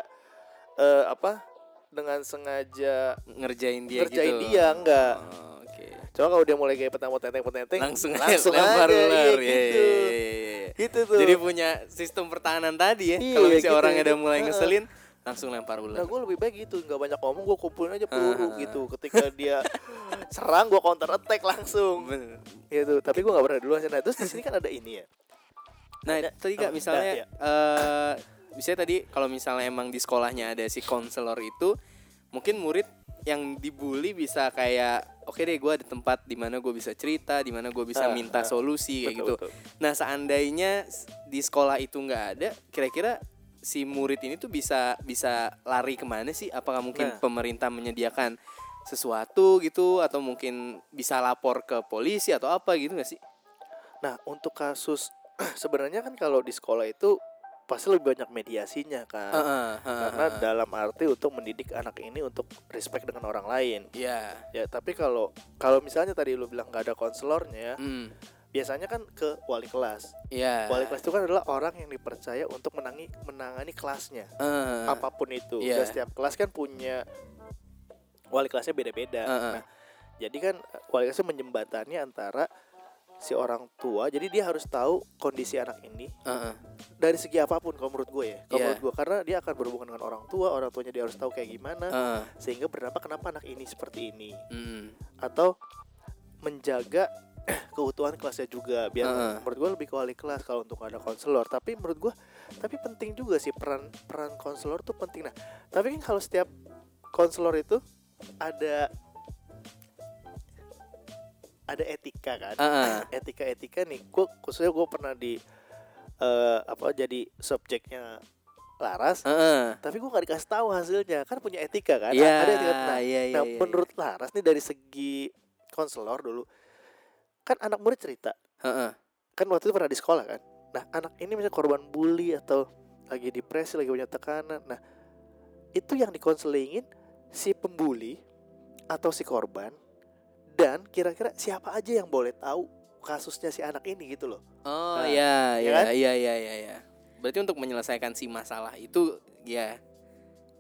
S4: eh, apa dengan sengaja
S3: Ngerjain dia
S4: ngerjain
S3: gitu.
S4: dia enggak
S3: Oh, Oke.
S4: cuma kalau dia mulai kayak petang petenteng petenteng
S3: Langsung
S4: langsung
S3: lempar
S4: aja,
S3: ular.
S4: iya,
S3: Iya,
S4: gitu.
S3: iya, iya, iya.
S4: gitu tuh
S3: Jadi punya sistem pertahanan tadi ya.
S4: Iya,
S3: Kalau si
S4: gitu,
S3: orangnya
S4: gitu.
S3: udah mulai
S4: Heeh.
S3: ngeselin, langsung lempar
S4: Nah
S3: ular.
S4: gue lebih baik gitu nggak banyak ngomong gue kumpulin aja
S3: Ah,
S4: peluru
S3: ah,
S4: gitu Ketika dia serang gue counter attack langsung
S3: Bener.
S4: Gitu tapi gue nggak pernah duluan Nah terus di sini kan ada ini ya
S3: Nah,
S4: Ada-
S3: tadi kak
S4: oh,
S3: misalnya
S4: ada,
S3: eh misalnya tadi kalau misalnya emang di sekolahnya ada si konselor itu, mungkin murid yang dibully bisa kayak oke deh gue ada tempat di mana gue bisa cerita, di mana gue bisa
S4: Ah,
S3: minta
S4: ah.
S3: solusi kayak gitu.
S4: betul.
S3: Nah, seandainya s- di sekolah itu nggak ada, kira-kira si murid ini tuh bisa bisa lari kemana sih? Apakah mungkin
S4: Nah.
S3: pemerintah menyediakan sesuatu gitu atau mungkin bisa lapor ke polisi atau apa gitu nggak sih?
S4: Nah untuk kasus sebenarnya kan kalau di sekolah itu pasti lebih banyak mediasinya kan
S3: Heeh, heeh,
S4: Karena
S3: heeh.
S4: dalam arti untuk mendidik anak ini untuk respect dengan orang lain
S3: Iya.
S4: Ya tapi kalau kalau misalnya tadi lu bilang nggak ada konselornya ya,
S3: Hmm.
S4: Biasanya kan ke wali kelas
S3: Iya.
S4: Wali kelas itu kan adalah orang yang dipercaya untuk menangi, menangani kelasnya
S3: Eh,
S4: apapun itu.
S3: Iya.
S4: Dan setiap kelas kan punya wali kelasnya beda-beda.
S3: Heeh.
S4: Nah, jadi kan eh, wali kelasnya menjembatani antara si orang tua. Jadi dia harus tahu kondisi anak ini
S3: heeh.
S4: dari segi apapun kalau menurut gue ya. Kalau
S3: Iya.
S4: menurut gue karena dia akan berhubungan dengan orang tua, orang tuanya dia harus tahu kayak gimana
S3: Heeh.
S4: sehingga berdampak kenapa anak ini seperti ini
S3: Mm.
S4: atau menjaga keutuhan kelasnya juga biar
S3: Heeh.
S4: menurut gue lebih ke wali kelas kalau untuk ada konselor tapi menurut gue tapi penting juga sih peran peran konselor tuh penting nah tapi kan kalau setiap konselor itu ada ada etika kan
S3: Heeh.
S4: etika etika nih gue khususnya gue pernah di eh, apa jadi subjeknya Laras
S3: Heeh.
S4: tapi gue gak dikasih tahu hasilnya kan punya etika kan
S3: mm. Iya,
S4: ada etika nah,
S3: iya, iya,
S4: Nah,
S3: iya.
S4: menurut Laras nih dari segi konselor dulu, kan anak murid cerita,
S3: Heeh.
S4: kan waktu itu pernah di sekolah kan. Nah, anak ini misalnya korban bully atau lagi depresi, lagi punya tekanan. Nah, itu yang dikonselingin si pembuli atau si korban dan kira-kira siapa aja yang boleh tahu kasusnya si anak ini gitu loh.
S3: Oh,
S4: Nah,
S3: iya,
S4: ya
S3: iya,
S4: kan?
S3: iya, iya, iya, iya. Berarti untuk menyelesaikan si masalah itu ya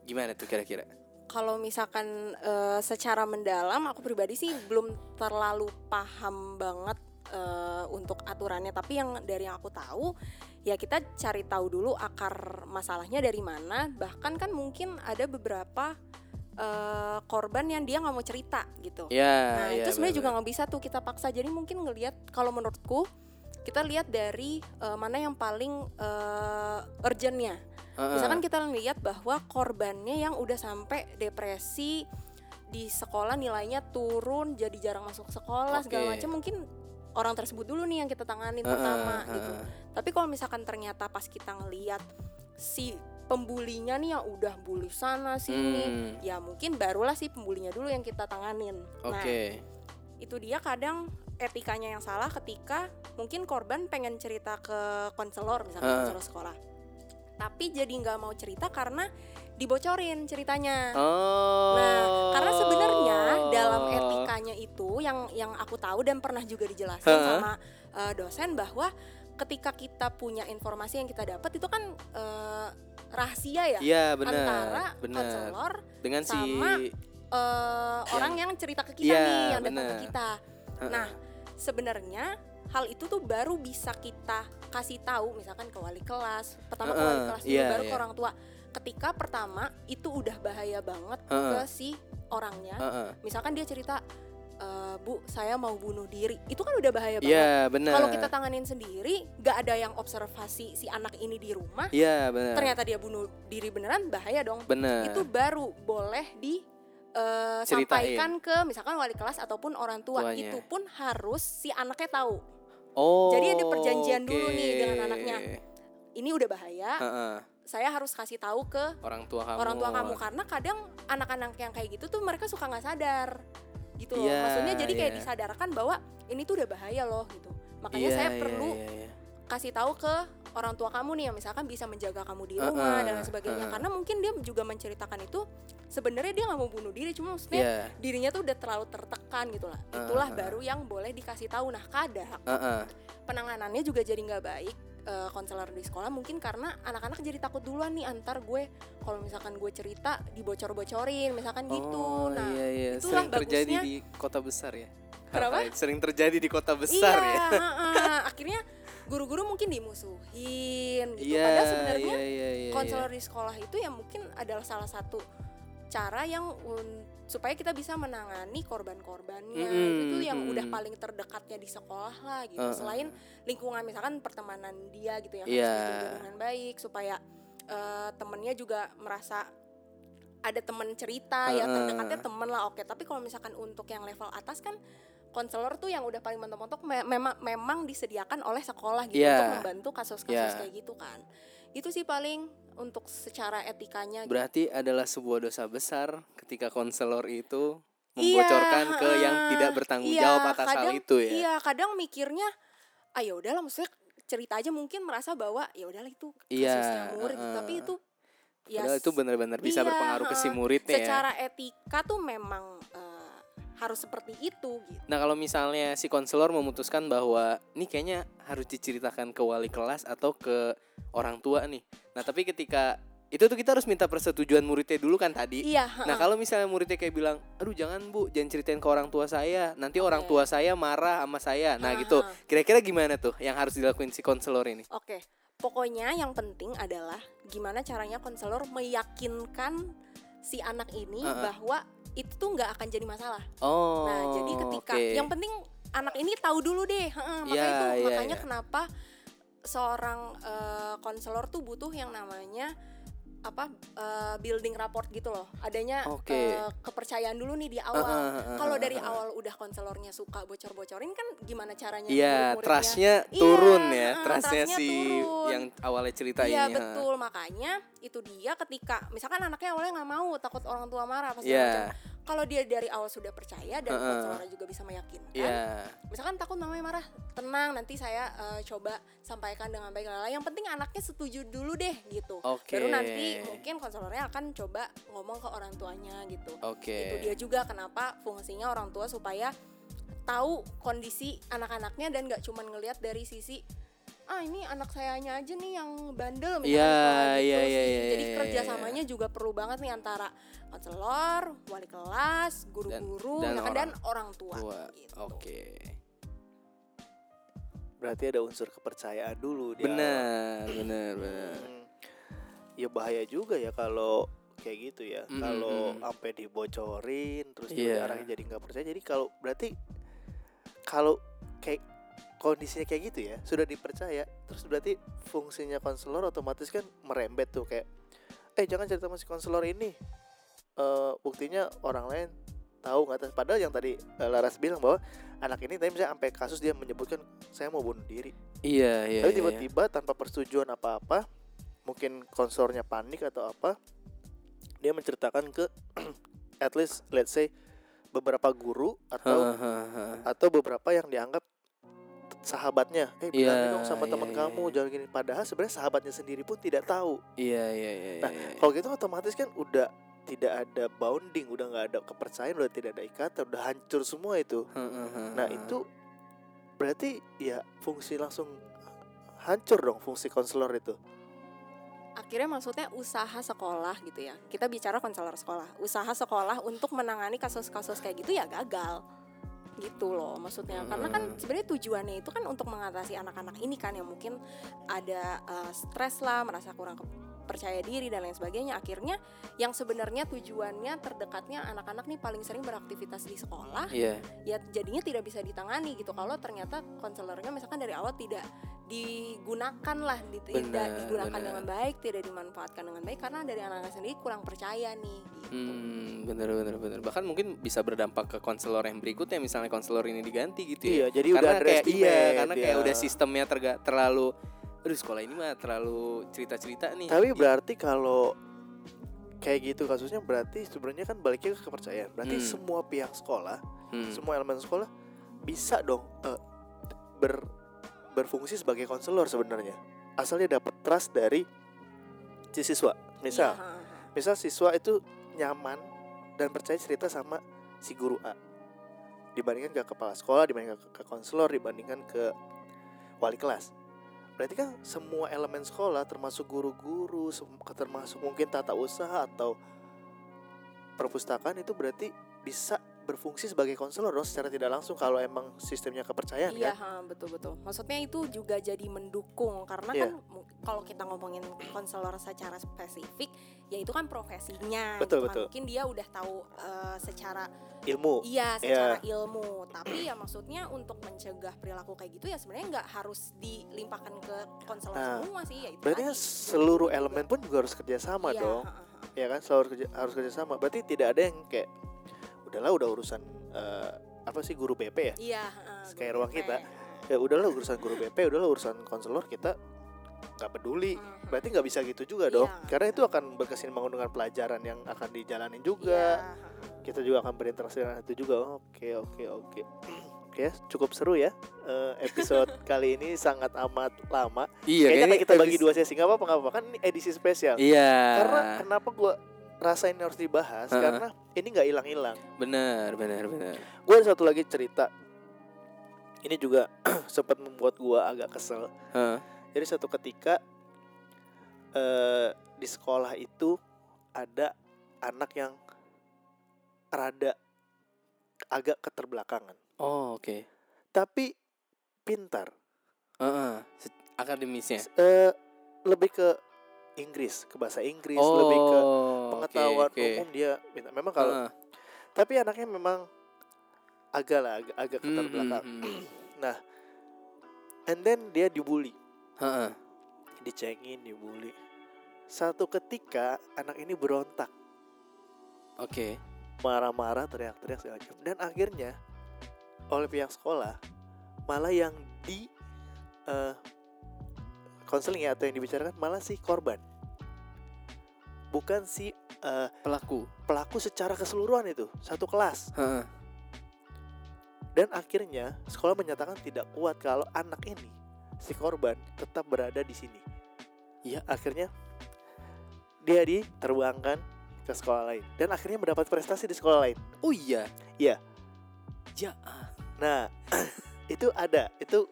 S3: gimana tuh kira-kira?
S5: kalau misalkan eh, secara mendalam aku pribadi sih belum terlalu paham banget eh, untuk aturannya tapi yang dari yang aku tahu ya kita cari tahu dulu akar masalahnya dari mana bahkan kan mungkin ada beberapa eh, korban yang dia nggak mau cerita gitu
S3: Ya,
S5: Nah,
S3: ya,
S5: itu sebenarnya juga
S3: benar-benar.
S5: nggak bisa tuh kita paksa. Jadi mungkin ngelihat kalau menurutku kita lihat dari eh, mana yang paling eh, urgentnya.
S3: Heeh.
S5: Misalkan kita lihat bahwa korbannya yang udah sampai depresi di sekolah nilainya turun, jadi jarang masuk sekolah
S3: Oke.
S5: segala macam mungkin orang tersebut dulu nih yang kita tanganin
S3: Heeh,
S5: pertama
S3: heeh.
S5: gitu. Tapi kalau misalkan ternyata pas kita ngelihat si pembulinya nih yang udah bully sana sini,
S3: Hmm,
S5: ya mungkin barulah si pembulinya dulu yang kita tanganin.
S3: Oke.
S5: Nah, itu dia kadang etikanya yang salah ketika mungkin korban pengen cerita ke konselor misalnya
S3: Ah.
S5: konselor sekolah tapi jadi nggak mau cerita karena dibocorin ceritanya
S3: Oh.
S5: nah karena sebenarnya dalam etikanya itu yang yang aku tahu dan pernah juga dijelasin
S3: Ah.
S5: sama eh, dosen bahwa ketika kita punya informasi yang kita dapat itu kan eh, rahasia ya
S3: Iya, benar.
S5: antara
S3: Benar.
S5: konselor
S3: Dengan
S5: sama
S3: si
S5: eh, orang yang cerita ke kita
S3: Iya,
S5: nih yang datang ke
S3: bener.
S5: kita
S3: Heeh.
S5: Nah, sebenarnya hal itu tuh baru bisa kita kasih tahu misalkan ke wali kelas, pertama ke wali
S3: Heeh,
S5: kelas dulu,
S3: iya,
S5: baru ke
S3: iya.
S5: orang tua. Ketika pertama itu udah bahaya banget
S3: Heeh.
S5: ke si orangnya.
S3: Heeh.
S5: Misalkan dia cerita "E, Bu, saya mau bunuh diri. Itu kan udah bahaya
S3: Iya,
S5: banget.
S3: benar.
S5: Kalau kita tanganin sendiri, nggak ada yang observasi si anak ini di rumah,
S3: Iya, benar.
S5: ternyata dia bunuh diri beneran bahaya dong
S3: benar.
S5: itu baru boleh di eh,
S3: Eh. Ceritain.
S5: sampaikan ke misalkan wali kelas ataupun orang tua
S3: Tuanya.
S5: itu pun harus si anaknya tahu
S3: Oh.
S5: Jadi ada perjanjian dulu nih
S3: oke.
S5: dengan anaknya. ini udah bahaya
S3: Heeh,
S5: saya harus kasih tahu ke
S3: Orang tua kamu.
S5: orang tua
S3: Oh.
S5: kamu karena kadang anak-anak yang kayak gitu tuh mereka suka nggak sadar gitu loh
S3: Iya,
S5: maksudnya jadi kayak
S3: iya.
S5: disadarkan bahwa ini tuh udah bahaya loh gitu makanya
S3: Iya,
S5: saya
S3: iya,
S5: perlu
S3: iya, iya.
S5: kasih tahu ke orang tua kamu nih yang misalkan bisa menjaga kamu di
S3: Heeh,
S5: rumah dan lain sebagainya
S3: heeh.
S5: karena mungkin dia juga menceritakan itu sebenarnya dia nggak mau bunuh diri cuma maksudnya
S3: Iya.
S5: dirinya tuh udah terlalu tertekan gitu lah.
S3: Ah,
S5: Itulah baru yang boleh dikasih tahu. Nah, kadang
S3: Heeh.
S5: penanganannya juga jadi nggak baik eh, konselor di sekolah mungkin karena anak-anak jadi takut duluan nih antar gue kalau misalkan gue cerita dibocor-bocorin misalkan gitu.
S3: Oh,
S5: Nah,
S3: iya, iya.
S5: itulah
S3: sering terjadi
S5: bagusnya.
S3: di kota besar ya.
S5: Kenapa?
S3: Apa ya? Sering terjadi di kota besar
S5: iya,
S3: ya.
S5: heeh. akhirnya guru-guru mungkin dimusuhin gitu.
S3: Iya,
S5: Padahal sebenarnya
S3: iya, iya, iya,
S5: konselor di sekolah itu ya mungkin adalah salah satu cara yang un- supaya kita bisa menangani korban-korbannya
S3: Mm-mm,
S5: itu yang
S3: mm-mm.
S5: udah paling terdekatnya di sekolah lah gitu
S3: Uh, uh,
S5: selain lingkungan misalkan pertemanan dia gitu yang
S3: Iya.
S5: harus dijaga dengan baik supaya eh, temennya juga merasa ada temen cerita ya
S3: Uh, uh.
S5: terdekatnya temen lah oke tapi kalau misalkan untuk yang level atas kan konselor tuh yang udah paling mentok-mentok me- memang memang disediakan oleh sekolah gitu
S3: Iya.
S5: untuk membantu kasus-kasus
S3: Iya.
S5: kayak gitu kan itu sih paling untuk secara etikanya gitu.
S3: Berarti adalah sebuah dosa besar ketika konselor itu membocorkan ke yang
S5: Iya, heeh.
S3: tidak bertanggung
S5: Iya,
S3: jawab atas hal
S5: kadang-
S3: itu ya.
S5: Iya, kadang mikirnya ah ya udahlah maksudnya cerita aja mungkin merasa bahwa ya udahlah itu
S3: Iya,
S5: kasusnya murid gitu."
S3: heeh.
S5: tapi itu ya
S3: Padahal itu benar-benar bisa
S5: iya,
S3: berpengaruh ke si
S5: heeh.
S3: muridnya ya.
S5: secara etika tuh memang eh, harus seperti itu gitu.
S3: Nah kalau misalnya si konselor memutuskan bahwa ini kayaknya harus diceritakan ke wali kelas atau ke orang tua nih. Nah tapi ketika itu tuh kita harus minta persetujuan muridnya dulu kan tadi.
S5: Iya,
S3: Nah kalau misalnya muridnya kayak bilang, aduh jangan bu, jangan ceritain ke orang tua saya, nanti orang
S5: Oke.
S3: tua saya marah sama saya. Nah gitu, kira-kira gimana tuh yang harus dilakuin si konselor ini?
S5: Oke, pokoknya yang penting adalah gimana caranya konselor meyakinkan si anak ini
S3: Heeh.
S5: bahwa itu tuh nggak akan jadi masalah.
S3: Oh,
S5: nah, jadi ketika
S3: oke.
S5: yang penting anak ini tahu dulu deh, heeh, makanya
S3: Iya,
S5: itu
S3: iya,
S5: makanya
S3: iya.
S5: kenapa seorang eh, konselor tuh butuh yang namanya apa eh, building rapport gitu loh, adanya
S3: Oke.
S5: eh, kepercayaan dulu nih di awal.
S3: Heeh, heeh,
S5: Kalau dari
S3: heeh.
S5: awal udah konselornya suka bocor-bocorin kan gimana caranya?
S3: Iya,
S5: murid-muridnya-
S3: trustnya
S5: Iya,
S3: turun ya,
S5: heeh, trustnya
S3: trustnya si
S5: turun.
S3: yang awalnya cerita
S5: Iya
S3: ini. ha.
S5: betul makanya itu dia ketika misalkan anaknya awalnya nggak mau takut orang tua marah pasti
S3: Iya,
S5: kalau dia dari awal sudah percaya dan
S3: Heeh.
S5: konselornya juga bisa meyakinkan
S3: iya,
S5: misalkan takut mamanya marah tenang nanti saya eh, coba sampaikan dengan baik lala yang penting anaknya setuju dulu deh gitu
S3: oke.
S5: baru nanti mungkin konselornya akan coba ngomong ke orang tuanya gitu
S3: Oke.
S5: itu dia juga kenapa fungsinya orang tua supaya tahu kondisi anak-anaknya dan nggak cuma ngelihat dari sisi ah ini anak sayanya aja nih yang bandel misalnya
S3: Iya,
S5: kayak
S3: iya, iya,
S5: sih.
S3: iya,
S5: jadi
S3: iya, iya,
S5: kerjasamanya juga perlu banget nih antara konselor, wali kelas, guru-guru,
S3: Dan- dan
S5: gitu. misalkan, dan, orang, tua.
S3: Tua,
S5: gitu.
S3: Oke.
S4: berarti ada unsur kepercayaan dulu di awal.
S3: Benar, benar, benar.
S4: Hmm. ya bahaya juga ya kalau kayak gitu ya
S3: Mm,
S4: kalau
S3: mm, mm.
S4: sampai dibocorin terus
S3: Iya.
S4: juga orangnya jadi nggak percaya jadi kalau berarti kalau kayak kondisinya kayak gitu ya sudah dipercaya terus berarti fungsinya konselor otomatis kan merembet tuh kayak eh jangan cerita sama si konselor ini Eh, buktinya orang lain tahu nggak tahu. padahal yang tadi eh, Laras bilang bahwa anak ini tadi misalnya sampai kasus dia menyebutkan saya mau bunuh diri
S3: Iya, iya. iya.
S4: tapi tiba-tiba tanpa persetujuan apa-apa, mungkin konsornya panik atau apa, dia menceritakan ke at least let's say beberapa guru
S3: Ha,
S4: atau
S3: ha, ha.
S4: atau beberapa yang dianggap sahabatnya. Eh bilang
S3: Iya,
S4: dong sama
S3: iya,
S4: teman
S3: iya,
S4: kamu
S3: iya.
S4: jangan gini. Padahal sebenarnya sahabatnya sendiri pun tidak tahu.
S3: Iya, iya, iya.
S4: Nah,
S3: iya, iya.
S4: Kalau gitu otomatis kan udah tidak ada bounding, udah nggak ada kepercayaan, udah tidak ada ikatan, udah hancur semua itu.
S3: Ha, ha, ha,
S4: Nah
S3: ha.
S4: itu berarti ya fungsi langsung hancur dong fungsi konselor itu.
S5: akhirnya maksudnya usaha sekolah gitu ya kita bicara konselor sekolah usaha sekolah untuk menangani kasus-kasus kayak gitu ya gagal gitu loh maksudnya karena kan sebenarnya tujuannya itu kan untuk mengatasi anak-anak ini kan yang mungkin ada eh, stres lah merasa kurang ke- percaya diri dan lain sebagainya akhirnya yang sebenarnya tujuannya terdekatnya anak-anak nih paling sering beraktivitas di sekolah
S3: Iya.
S5: ya jadinya tidak bisa ditangani gitu kalau ternyata konselornya misalkan dari awal tidak digunakan lah di- tidak
S3: Benar,
S5: digunakan
S3: benar.
S5: dengan baik tidak dimanfaatkan dengan baik karena dari anak-anak sendiri kurang percaya nih gitu.
S3: Hmm, bener bener bener. Bahkan mungkin bisa berdampak ke konselor yang berikutnya, misalnya konselor ini diganti gitu ya.
S4: Iya, jadi
S3: karena
S4: udah
S3: kayak
S4: underestimate
S3: iya, karena kayak
S4: ya.
S3: udah sistemnya terga, terlalu, aduh sekolah ini mah terlalu cerita cerita nih. Iya.
S4: Tapi berarti kalau kayak gitu kasusnya berarti sebenarnya kan baliknya ke kepercayaan. Berarti
S3: Hmm.
S4: semua pihak sekolah,
S3: Hmm.
S4: semua elemen sekolah bisa dong eh, ber berfungsi sebagai konselor sebenarnya. Asal dia dapat trust dari si siswa. Misal,
S5: Iya,
S4: misal siswa itu nyaman dan percaya cerita sama si guru A. Dibandingkan ke kepala sekolah, dibandingkan ke- ke konselor, dibandingkan ke wali kelas. Berarti kan semua elemen sekolah termasuk guru-guru, sem- termasuk mungkin tata usaha atau perpustakaan itu berarti bisa berfungsi sebagai konselor dong secara tidak langsung kalau emang sistemnya kepercayaan
S5: Iya, ha,
S4: kan.
S5: betul-betul. Maksudnya itu juga jadi mendukung karena
S4: Iya.
S5: kan mu- kalau kita ngomongin konselor secara spesifik, ya itu kan profesinya.
S4: Betul,
S5: gitu kan.
S4: betul.
S5: Mungkin dia udah tahu eh, secara
S4: Ilmu.
S5: Iya, secara ilmu. Tapi ya maksudnya untuk mencegah perilaku kayak gitu ya sebenarnya nggak harus dilimpahkan ke konselor
S4: Nah,
S5: semua sih ya itu.
S4: Berarti
S5: tadi.
S4: kan seluruh elemen pun juga harus kerjasama
S5: Iya,
S4: dong.
S5: ha, ha, ha.
S4: ya kan selalu kerja, harus kerjasama berarti tidak ada yang kayak udahlah udah urusan eh, apa sih guru BP ya
S5: Iya, ha, ha,
S4: Kayak
S5: gue
S4: ruang
S5: pikir,
S4: kita.
S5: ha, ha.
S4: ya udahlah urusan guru BP udahlah urusan konselor kita nggak peduli
S5: Mhm.
S4: berarti nggak bisa gitu juga dong
S5: Iya.
S4: karena itu akan berkesinambungan dengan pelajaran yang akan dijalanin
S5: Iya,
S4: juga
S5: ha, ha.
S4: kita juga akan berinteraksi dengan itu juga oke oke oke Oke, cukup seru ya eh, episode kali ini sangat amat lama.
S3: Iya,
S4: Kayaknya
S3: kayaknya
S4: kayak kita bagi
S3: edisi-
S4: dua sesi nggak apa-apa nggak apa-apa kan ini edisi spesial.
S3: Iya.
S4: Karena kenapa gue rasa ini harus dibahas
S3: Heeh.
S4: karena ini nggak hilang-hilang.
S3: bener bener bener.
S4: Gue ada satu lagi cerita. Ini juga sempat membuat gue agak kesel.
S3: Hah.
S4: Jadi suatu ketika eh, di sekolah itu ada anak yang rada agak keterbelakangan,
S3: Oh oke.
S4: tapi pintar.
S3: Heeh. Se- Akademisnya.
S4: S- eh, lebih ke Inggris, ke bahasa Inggris,
S3: oh.
S4: lebih ke
S3: oke,
S4: pengetahuan
S3: oke.
S4: umum dia. pintar. Memang kalau
S3: Heeh.
S4: tapi anaknya memang agak lah agak,
S3: Hmm,
S4: agak
S3: hmm,
S4: keterbelakang
S3: hmm.
S4: and then dia dibully
S3: Heeh.
S4: dicengin dibully satu ketika anak ini berontak
S3: Oke.
S4: marah-marah teriak-teriak segala macam dan akhirnya oleh pihak sekolah malah yang di eh, konseling ya atau yang dibicarakan malah si korban bukan si eh,
S3: Pelaku.
S4: pelaku secara keseluruhan itu satu kelas
S3: Heeh.
S4: Dan akhirnya sekolah menyatakan tidak kuat kalau anak ini si korban tetap berada di sini.
S3: Iya.
S4: Akhirnya dia diterbangkan ke sekolah lain dan akhirnya mendapat prestasi di sekolah lain.
S3: Oh iya.
S4: Iya.
S3: Ja.
S4: Nah itu ada itu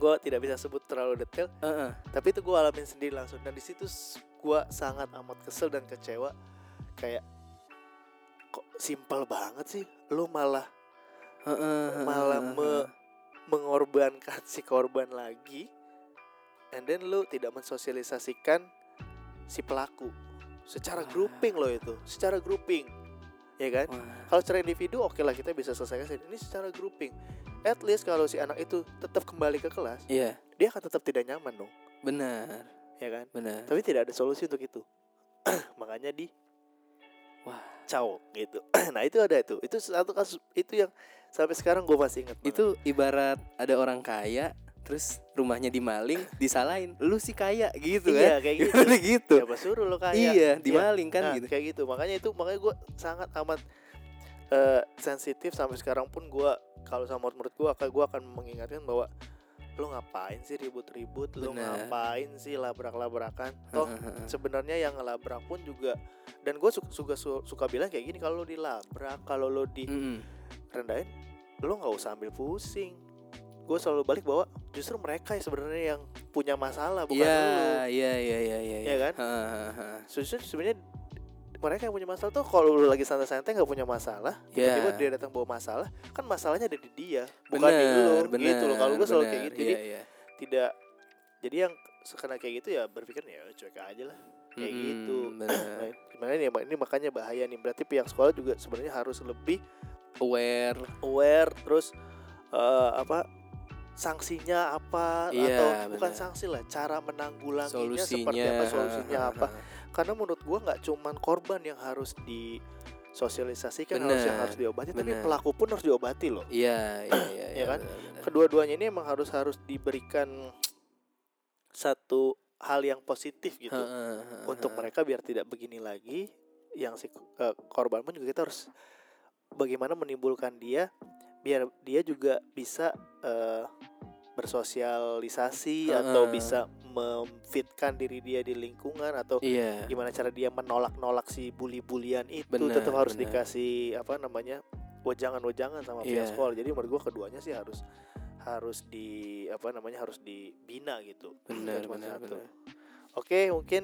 S4: gue tidak bisa sebut terlalu detail
S3: Heeh.
S4: tapi itu gue alamin sendiri langsung dan di situ gue sangat amat kesel dan kecewa kayak kok simpel banget sih lu malah
S3: Heeh.
S4: malah me- mengorbankan si korban lagi and then lu tidak mensosialisasikan si pelaku
S3: Wah.
S4: secara grouping loh itu secara grouping ya kan
S3: Wah.
S4: kalau secara individu oke lah kita bisa selesaikan sendiri. ini secara grouping at least kalau si anak itu tetap kembali ke kelas
S3: Iya,
S4: dia akan tetap tidak nyaman dong
S3: benar,
S4: ya kan
S3: benar.
S4: tapi tidak ada solusi untuk itu makanya di
S3: Wah.
S4: cao gitu nah itu ada itu itu satu kasus itu yang sampai sekarang gue masih ingat banget.
S3: Itu ibarat ada orang kaya terus rumahnya dimaling, disalahin. Lu sih kaya gitu
S4: iya
S3: kan.
S4: kayak gitu
S3: Gitu. gitu.
S4: siapa suruh lo kaya
S3: Iya, dimaling kan
S4: Nah,
S3: gitu.
S4: kayak gitu makanya itu makanya gue sangat amat eh, sensitif sampai sekarang pun gue kalau sama menurut gue akan gue akan mengingatkan bahwa lo ngapain sih ribut-ribut lo
S3: Bener.
S4: ngapain sih labrak-labrakan toh sebenarnya yang ngelabrak pun juga dan gue suka, suka suka bilang kayak gini kalau lo dilabrak kalau lo
S3: Mm-mm.
S4: direndahin lo nggak usah ambil pusing gue selalu balik bahwa justru mereka yang sebenarnya yang punya masalah bukan
S3: Iya,
S4: lo
S3: iya, iya, iya, iya.
S4: Iya kan?
S3: Ha, ha, ha.
S4: Justru sebenarnya mereka yang punya masalah tuh kalau lu lagi santai-santai nggak punya masalah,
S3: Iya.
S4: tiba-tiba dia datang bawa masalah, kan masalahnya ada di dia, bukan di lu.
S3: Benar, benar.
S4: gitu loh. Kalau gue selalu kayak
S3: benar.
S4: gitu, jadi
S3: Iya, iya.
S4: tidak jadi yang sekena kayak gitu ya berpikir ya cuek aja lah kayak
S3: Mm-mm,
S4: gitu.
S3: Hmm, benar.
S4: Nah, gimana nih, Mak? ini makanya bahaya nih. Berarti pihak sekolah juga sebenarnya harus lebih
S3: Aware.
S4: aware terus eh, apa sanksinya apa
S3: Iya,
S4: atau bukan
S3: benar.
S4: sanksi lah cara menanggulanginya
S3: Solusinya.
S4: seperti apa solusinya
S3: Ha, ha,
S4: apa
S3: ha.
S4: karena menurut gua nggak cuman korban yang harus disosialisasikan harus yang
S3: Benar,
S4: harus diobati tapi
S3: benar.
S4: pelaku pun harus diobati loh
S3: Iya, iya, iya.
S4: Ya kan?
S3: benar, benar.
S4: kedua-duanya ini emang harus harus diberikan satu hal yang positif gitu
S3: Ha, ha, ha, ha.
S4: untuk mereka biar tidak begini lagi yang si eh, korban pun juga kita harus bagaimana menimbulkan dia biar dia juga bisa eh, bersosialisasi atau
S3: Heeh.
S4: bisa memfitkan diri dia di lingkungan atau
S3: Iya.
S4: gimana cara dia menolak-nolak si bully-bulian itu
S3: Benar,
S4: tetap harus
S3: benar.
S4: dikasih apa namanya wejangan-wejangan sama pihak
S3: Iya.
S4: sekolah jadi menurut gua keduanya sih harus harus di apa namanya harus dibina gitu
S3: Benar,
S4: Nggak cuma
S3: benar,
S4: satu.
S3: benar.
S4: oke mungkin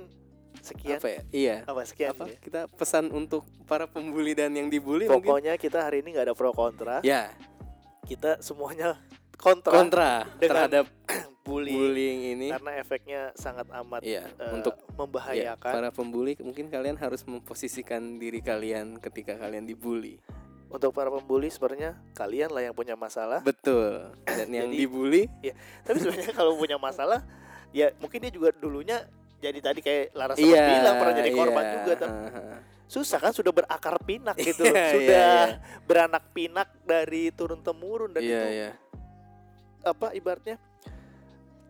S4: sekian
S3: Apa ya? Iya.
S4: apa sekian
S3: apa
S4: ya.
S3: kita pesan untuk para pembuli dan yang dibully mungkin
S4: pokoknya kita hari ini nggak ada pro kontra
S3: ya
S4: kita semuanya kontra,
S3: kontra
S4: Dengan
S3: terhadap
S4: bullying,
S3: bullying ini
S4: karena efeknya sangat amat
S3: Iya,
S4: eh,
S3: untuk ya,
S4: membahayakan
S3: para pembuli mungkin kalian harus memposisikan diri kalian ketika kalian dibully
S4: untuk para pembuli sebenarnya kalian lah yang punya masalah
S3: betul dan yang
S4: Jadi-
S3: dibully
S4: tapi sebenarnya kalau punya masalah ya mungkin dia juga dulunya jadi tadi kayak Laras sempat
S3: iya
S4: bilang pernah jadi korban
S3: iya,
S4: juga tapi
S3: ha, ha.
S4: susah kan sudah berakar pinak gitu
S3: Iya, iya,
S4: sudah
S3: iya.
S4: beranak pinak dari turun temurun dan
S3: iya
S4: itu
S3: iya
S4: apa ibaratnya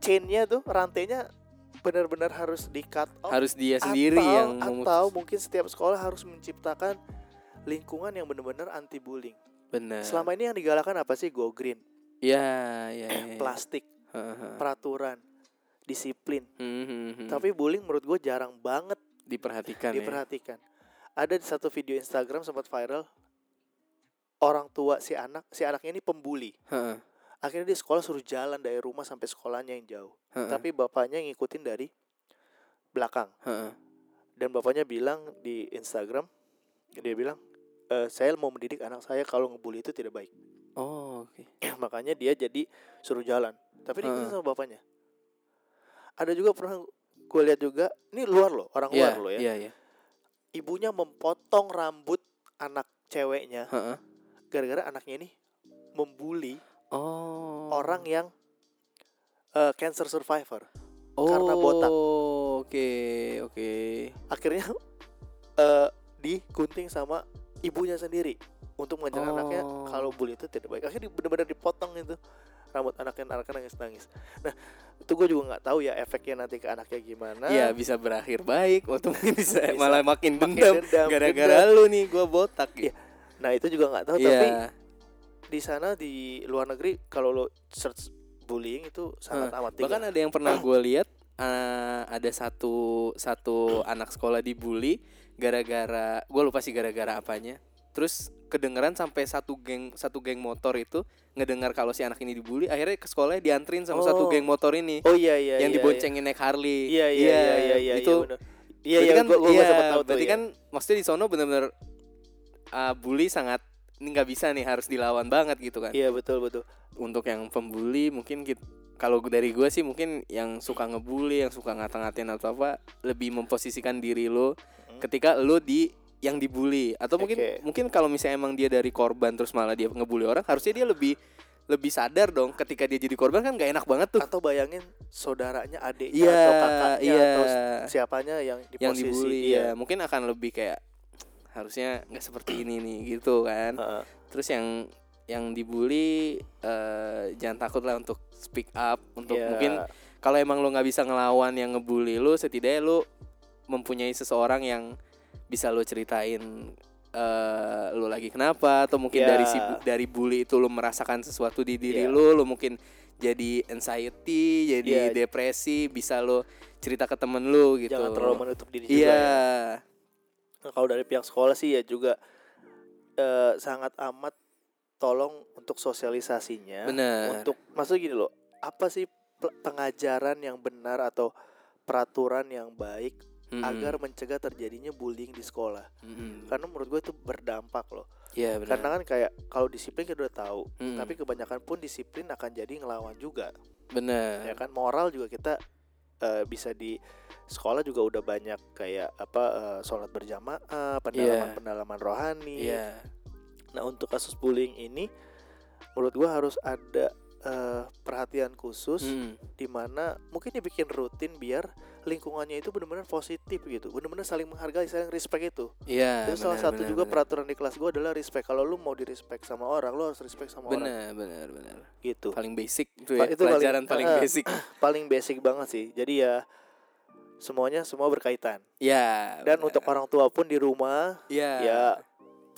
S4: chainnya tuh rantainya benar-benar harus di cut off
S3: harus dia sendiri
S4: Oh, atau,
S3: yang
S4: atau mungkin setiap sekolah harus menciptakan lingkungan yang benar-benar anti bullying
S3: benar
S4: selama ini yang digalakan apa sih go green
S3: ya ya, ya.
S4: plastik
S3: Ha, ha.
S4: peraturan disiplin
S3: Hmm, hmm, hmm.
S4: tapi bullying menurut gue jarang banget
S3: diperhatikan ya
S4: diperhatikan. Ada di satu video Instagram sempat viral orang tua si anak, si anaknya ini pembuli.
S3: Ha, ha,
S4: Akhirnya di sekolah suruh jalan dari rumah sampai sekolahnya yang jauh.
S3: ha, ha,
S4: Tapi bapaknya ngikutin dari belakang
S3: ha, ha.
S4: dan bapaknya bilang di Instagram dia bilang "Eh, saya mau mendidik anak saya kalau ngebully itu tidak baik.
S3: oh oke
S4: Makanya dia jadi suruh jalan. Tapi diikutin
S3: Heeh.
S4: sama bapaknya. Ada juga pernah gue lihat juga, ini luar loh, orang luar
S3: Iya,
S4: loh ya.
S3: iya iya
S4: ibunya memotong rambut anak ceweknya
S3: Ha, ha.
S4: gara-gara anaknya ini membuli
S3: oh
S4: orang yang eh, cancer survivor.
S3: oh,
S4: karena botak.
S3: oke oke
S4: Akhirnya eh digunting sama ibunya sendiri untuk mengajar
S3: Oh.
S4: anaknya kalau bully itu tidak baik. Akhirnya di- benar-benar dipotong itu rambut anaknya anaknya nangis-nangis. Nah, itu gue juga nggak tahu ya efeknya nanti ke anaknya gimana.
S3: Iya bisa berakhir baik Waktu mungkin bisa,
S4: Nah. Bisa.
S3: malah makin
S4: Makin
S3: dendam
S4: dendam,
S3: Gara-gara lu nih gue botak
S4: Iya, Nah, itu juga nggak tahu tapi
S3: Iya
S4: di sana di luar negeri kalau lo search bullying itu sangat amat
S3: Eh.
S4: tinggi.
S3: Bahkan ada yang pernah gue lihat eh, Ada satu Satu anak sekolah dibully Gara-gara Gue lupa sih gara-gara apanya Terus kedengeran sampai satu geng satu geng motor itu ngedengar kalau si anak ini dibully akhirnya ke sekolahnya dianterin sama satu
S4: Oh.
S3: geng motor ini
S4: Oh iya iya
S3: yang
S4: iya, iya.
S3: diboncengin naik Harley
S4: Iya iya iya iya iya
S3: itu
S4: bener. Iya
S3: berarti
S4: iya
S3: kan,
S4: gua gua, gua
S3: iya,
S4: sempat tahu tuh,
S3: berarti
S4: iya.
S3: kan maksudnya di sono ah, benar-benar uh, bully sangat ini nggak bisa nih harus dilawan banget gitu kan.
S4: Iya betul betul.
S3: untuk yang pembuli mungkin kit- kalau dari gue sih mungkin yang suka ngebully, yang suka ngata-ngatain atau apa lebih memposisikan diri lo ketika lo di yang dibully atau mungkin
S4: Hmm. Oke.
S3: mungkin kalau misalnya emang dia dari korban terus malah dia ngebully orang harusnya dia lebih lebih sadar dong ketika dia jadi korban kan gak enak banget tuh
S4: atau bayangin saudaranya, adiknya
S3: Iya,
S4: atau kakaknya atau
S3: iya.
S4: siapanya yang di
S3: yang
S4: posisi iya.
S3: dibully
S4: dia.
S3: ya mungkin akan lebih kayak harusnya nggak seperti ini nih gitu kan
S4: Heeh.
S3: terus yang yang dibully eh, jangan takut lah untuk speak up untuk
S4: Iya.
S3: mungkin kalau emang lo nggak bisa ngelawan yang ngebully lo setidaknya lo mempunyai seseorang yang bisa lo ceritain eh lo lagi kenapa atau mungkin
S4: Iya.
S3: dari si bu- dari bully itu lo merasakan sesuatu di diri
S4: Iya.
S3: lo lo mungkin jadi anxiety jadi
S4: Iya.
S3: depresi bisa lo cerita ke temen lo gitu
S4: jangan terlalu menutup diri juga
S3: Iya,
S4: ya. Nah, kalau dari pihak sekolah sih ya juga eh, sangat amat tolong untuk sosialisasinya
S3: benar.
S4: ya. untuk maksud gini loh apa sih pel- pengajaran yang benar atau peraturan yang baik
S3: Mm-mm.
S4: agar mencegah terjadinya bullying di sekolah
S3: Mm-mm.
S4: karena menurut gue itu berdampak loh
S3: Iya, benar.
S4: karena kan kayak kalau disiplin kita udah tahu
S3: Mm-mm.
S4: tapi kebanyakan pun disiplin akan jadi ngelawan juga
S3: benar.
S4: ya kan moral juga kita eh, bisa di sekolah juga udah banyak kayak apa eh, sholat berjamaah pendalaman pendalaman rohani
S3: Iya.
S4: nah untuk kasus bullying ini menurut gua harus ada eh, perhatian khusus
S3: Mm.
S4: di mana mungkin dibikin rutin biar lingkungannya itu benar-benar positif gitu benar-benar saling menghargai saling respect itu
S3: Iya.
S4: itu salah
S3: benar,
S4: satu
S3: benar,
S4: juga
S3: benar.
S4: peraturan di kelas gua adalah respect kalau lu mau di respect sama orang lu harus respect sama orang
S3: Benar, benar, benar.
S4: gitu
S3: Paling basic itu ya.
S4: Pa- itu paling-
S3: pelajaran paling,
S4: eh, eh.
S3: basic.
S4: paling basic banget sih. Jadi ya semuanya semua berkaitan.
S3: Iya.
S4: Dan
S3: benar.
S4: untuk orang tua pun di rumah
S3: Iya.
S4: ya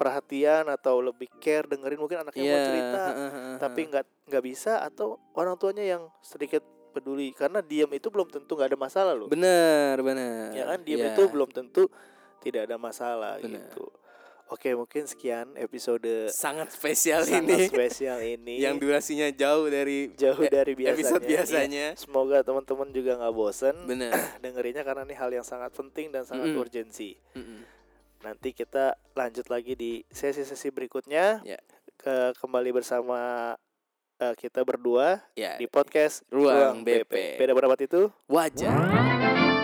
S4: perhatian atau lebih care dengerin mungkin anaknya
S3: Iya.
S4: mau cerita
S3: heeh, heeh,
S4: tapi
S3: heeh.
S4: nggak nggak bisa atau orang tuanya yang sedikit peduli karena diam itu belum tentu nggak ada masalah loh.
S3: benar, benar.
S4: Ya kan diam
S3: Iya.
S4: itu belum tentu tidak ada masalah
S3: Benar.
S4: gitu. Oke, mungkin sekian episode
S3: sangat spesial
S4: sangat
S3: ini
S4: spesial ini
S3: yang durasinya jauh dari
S4: jauh
S3: eh,
S4: dari biasanya.
S3: episode
S4: Iya.
S3: biasanya.
S4: Semoga teman-teman juga nggak bosen
S3: Benar.
S4: dengerinnya karena ini hal yang sangat penting dan sangat
S3: Mm-mm.
S4: urgensi.
S3: Mm-mm.
S4: Nanti kita lanjut lagi di sesi-sesi berikutnya.
S3: Ya.
S4: Ke kembali bersama eh, kita berdua
S3: Ya.
S4: di podcast
S3: Ruang BP.
S4: Beda pendapat itu?
S3: Wajah.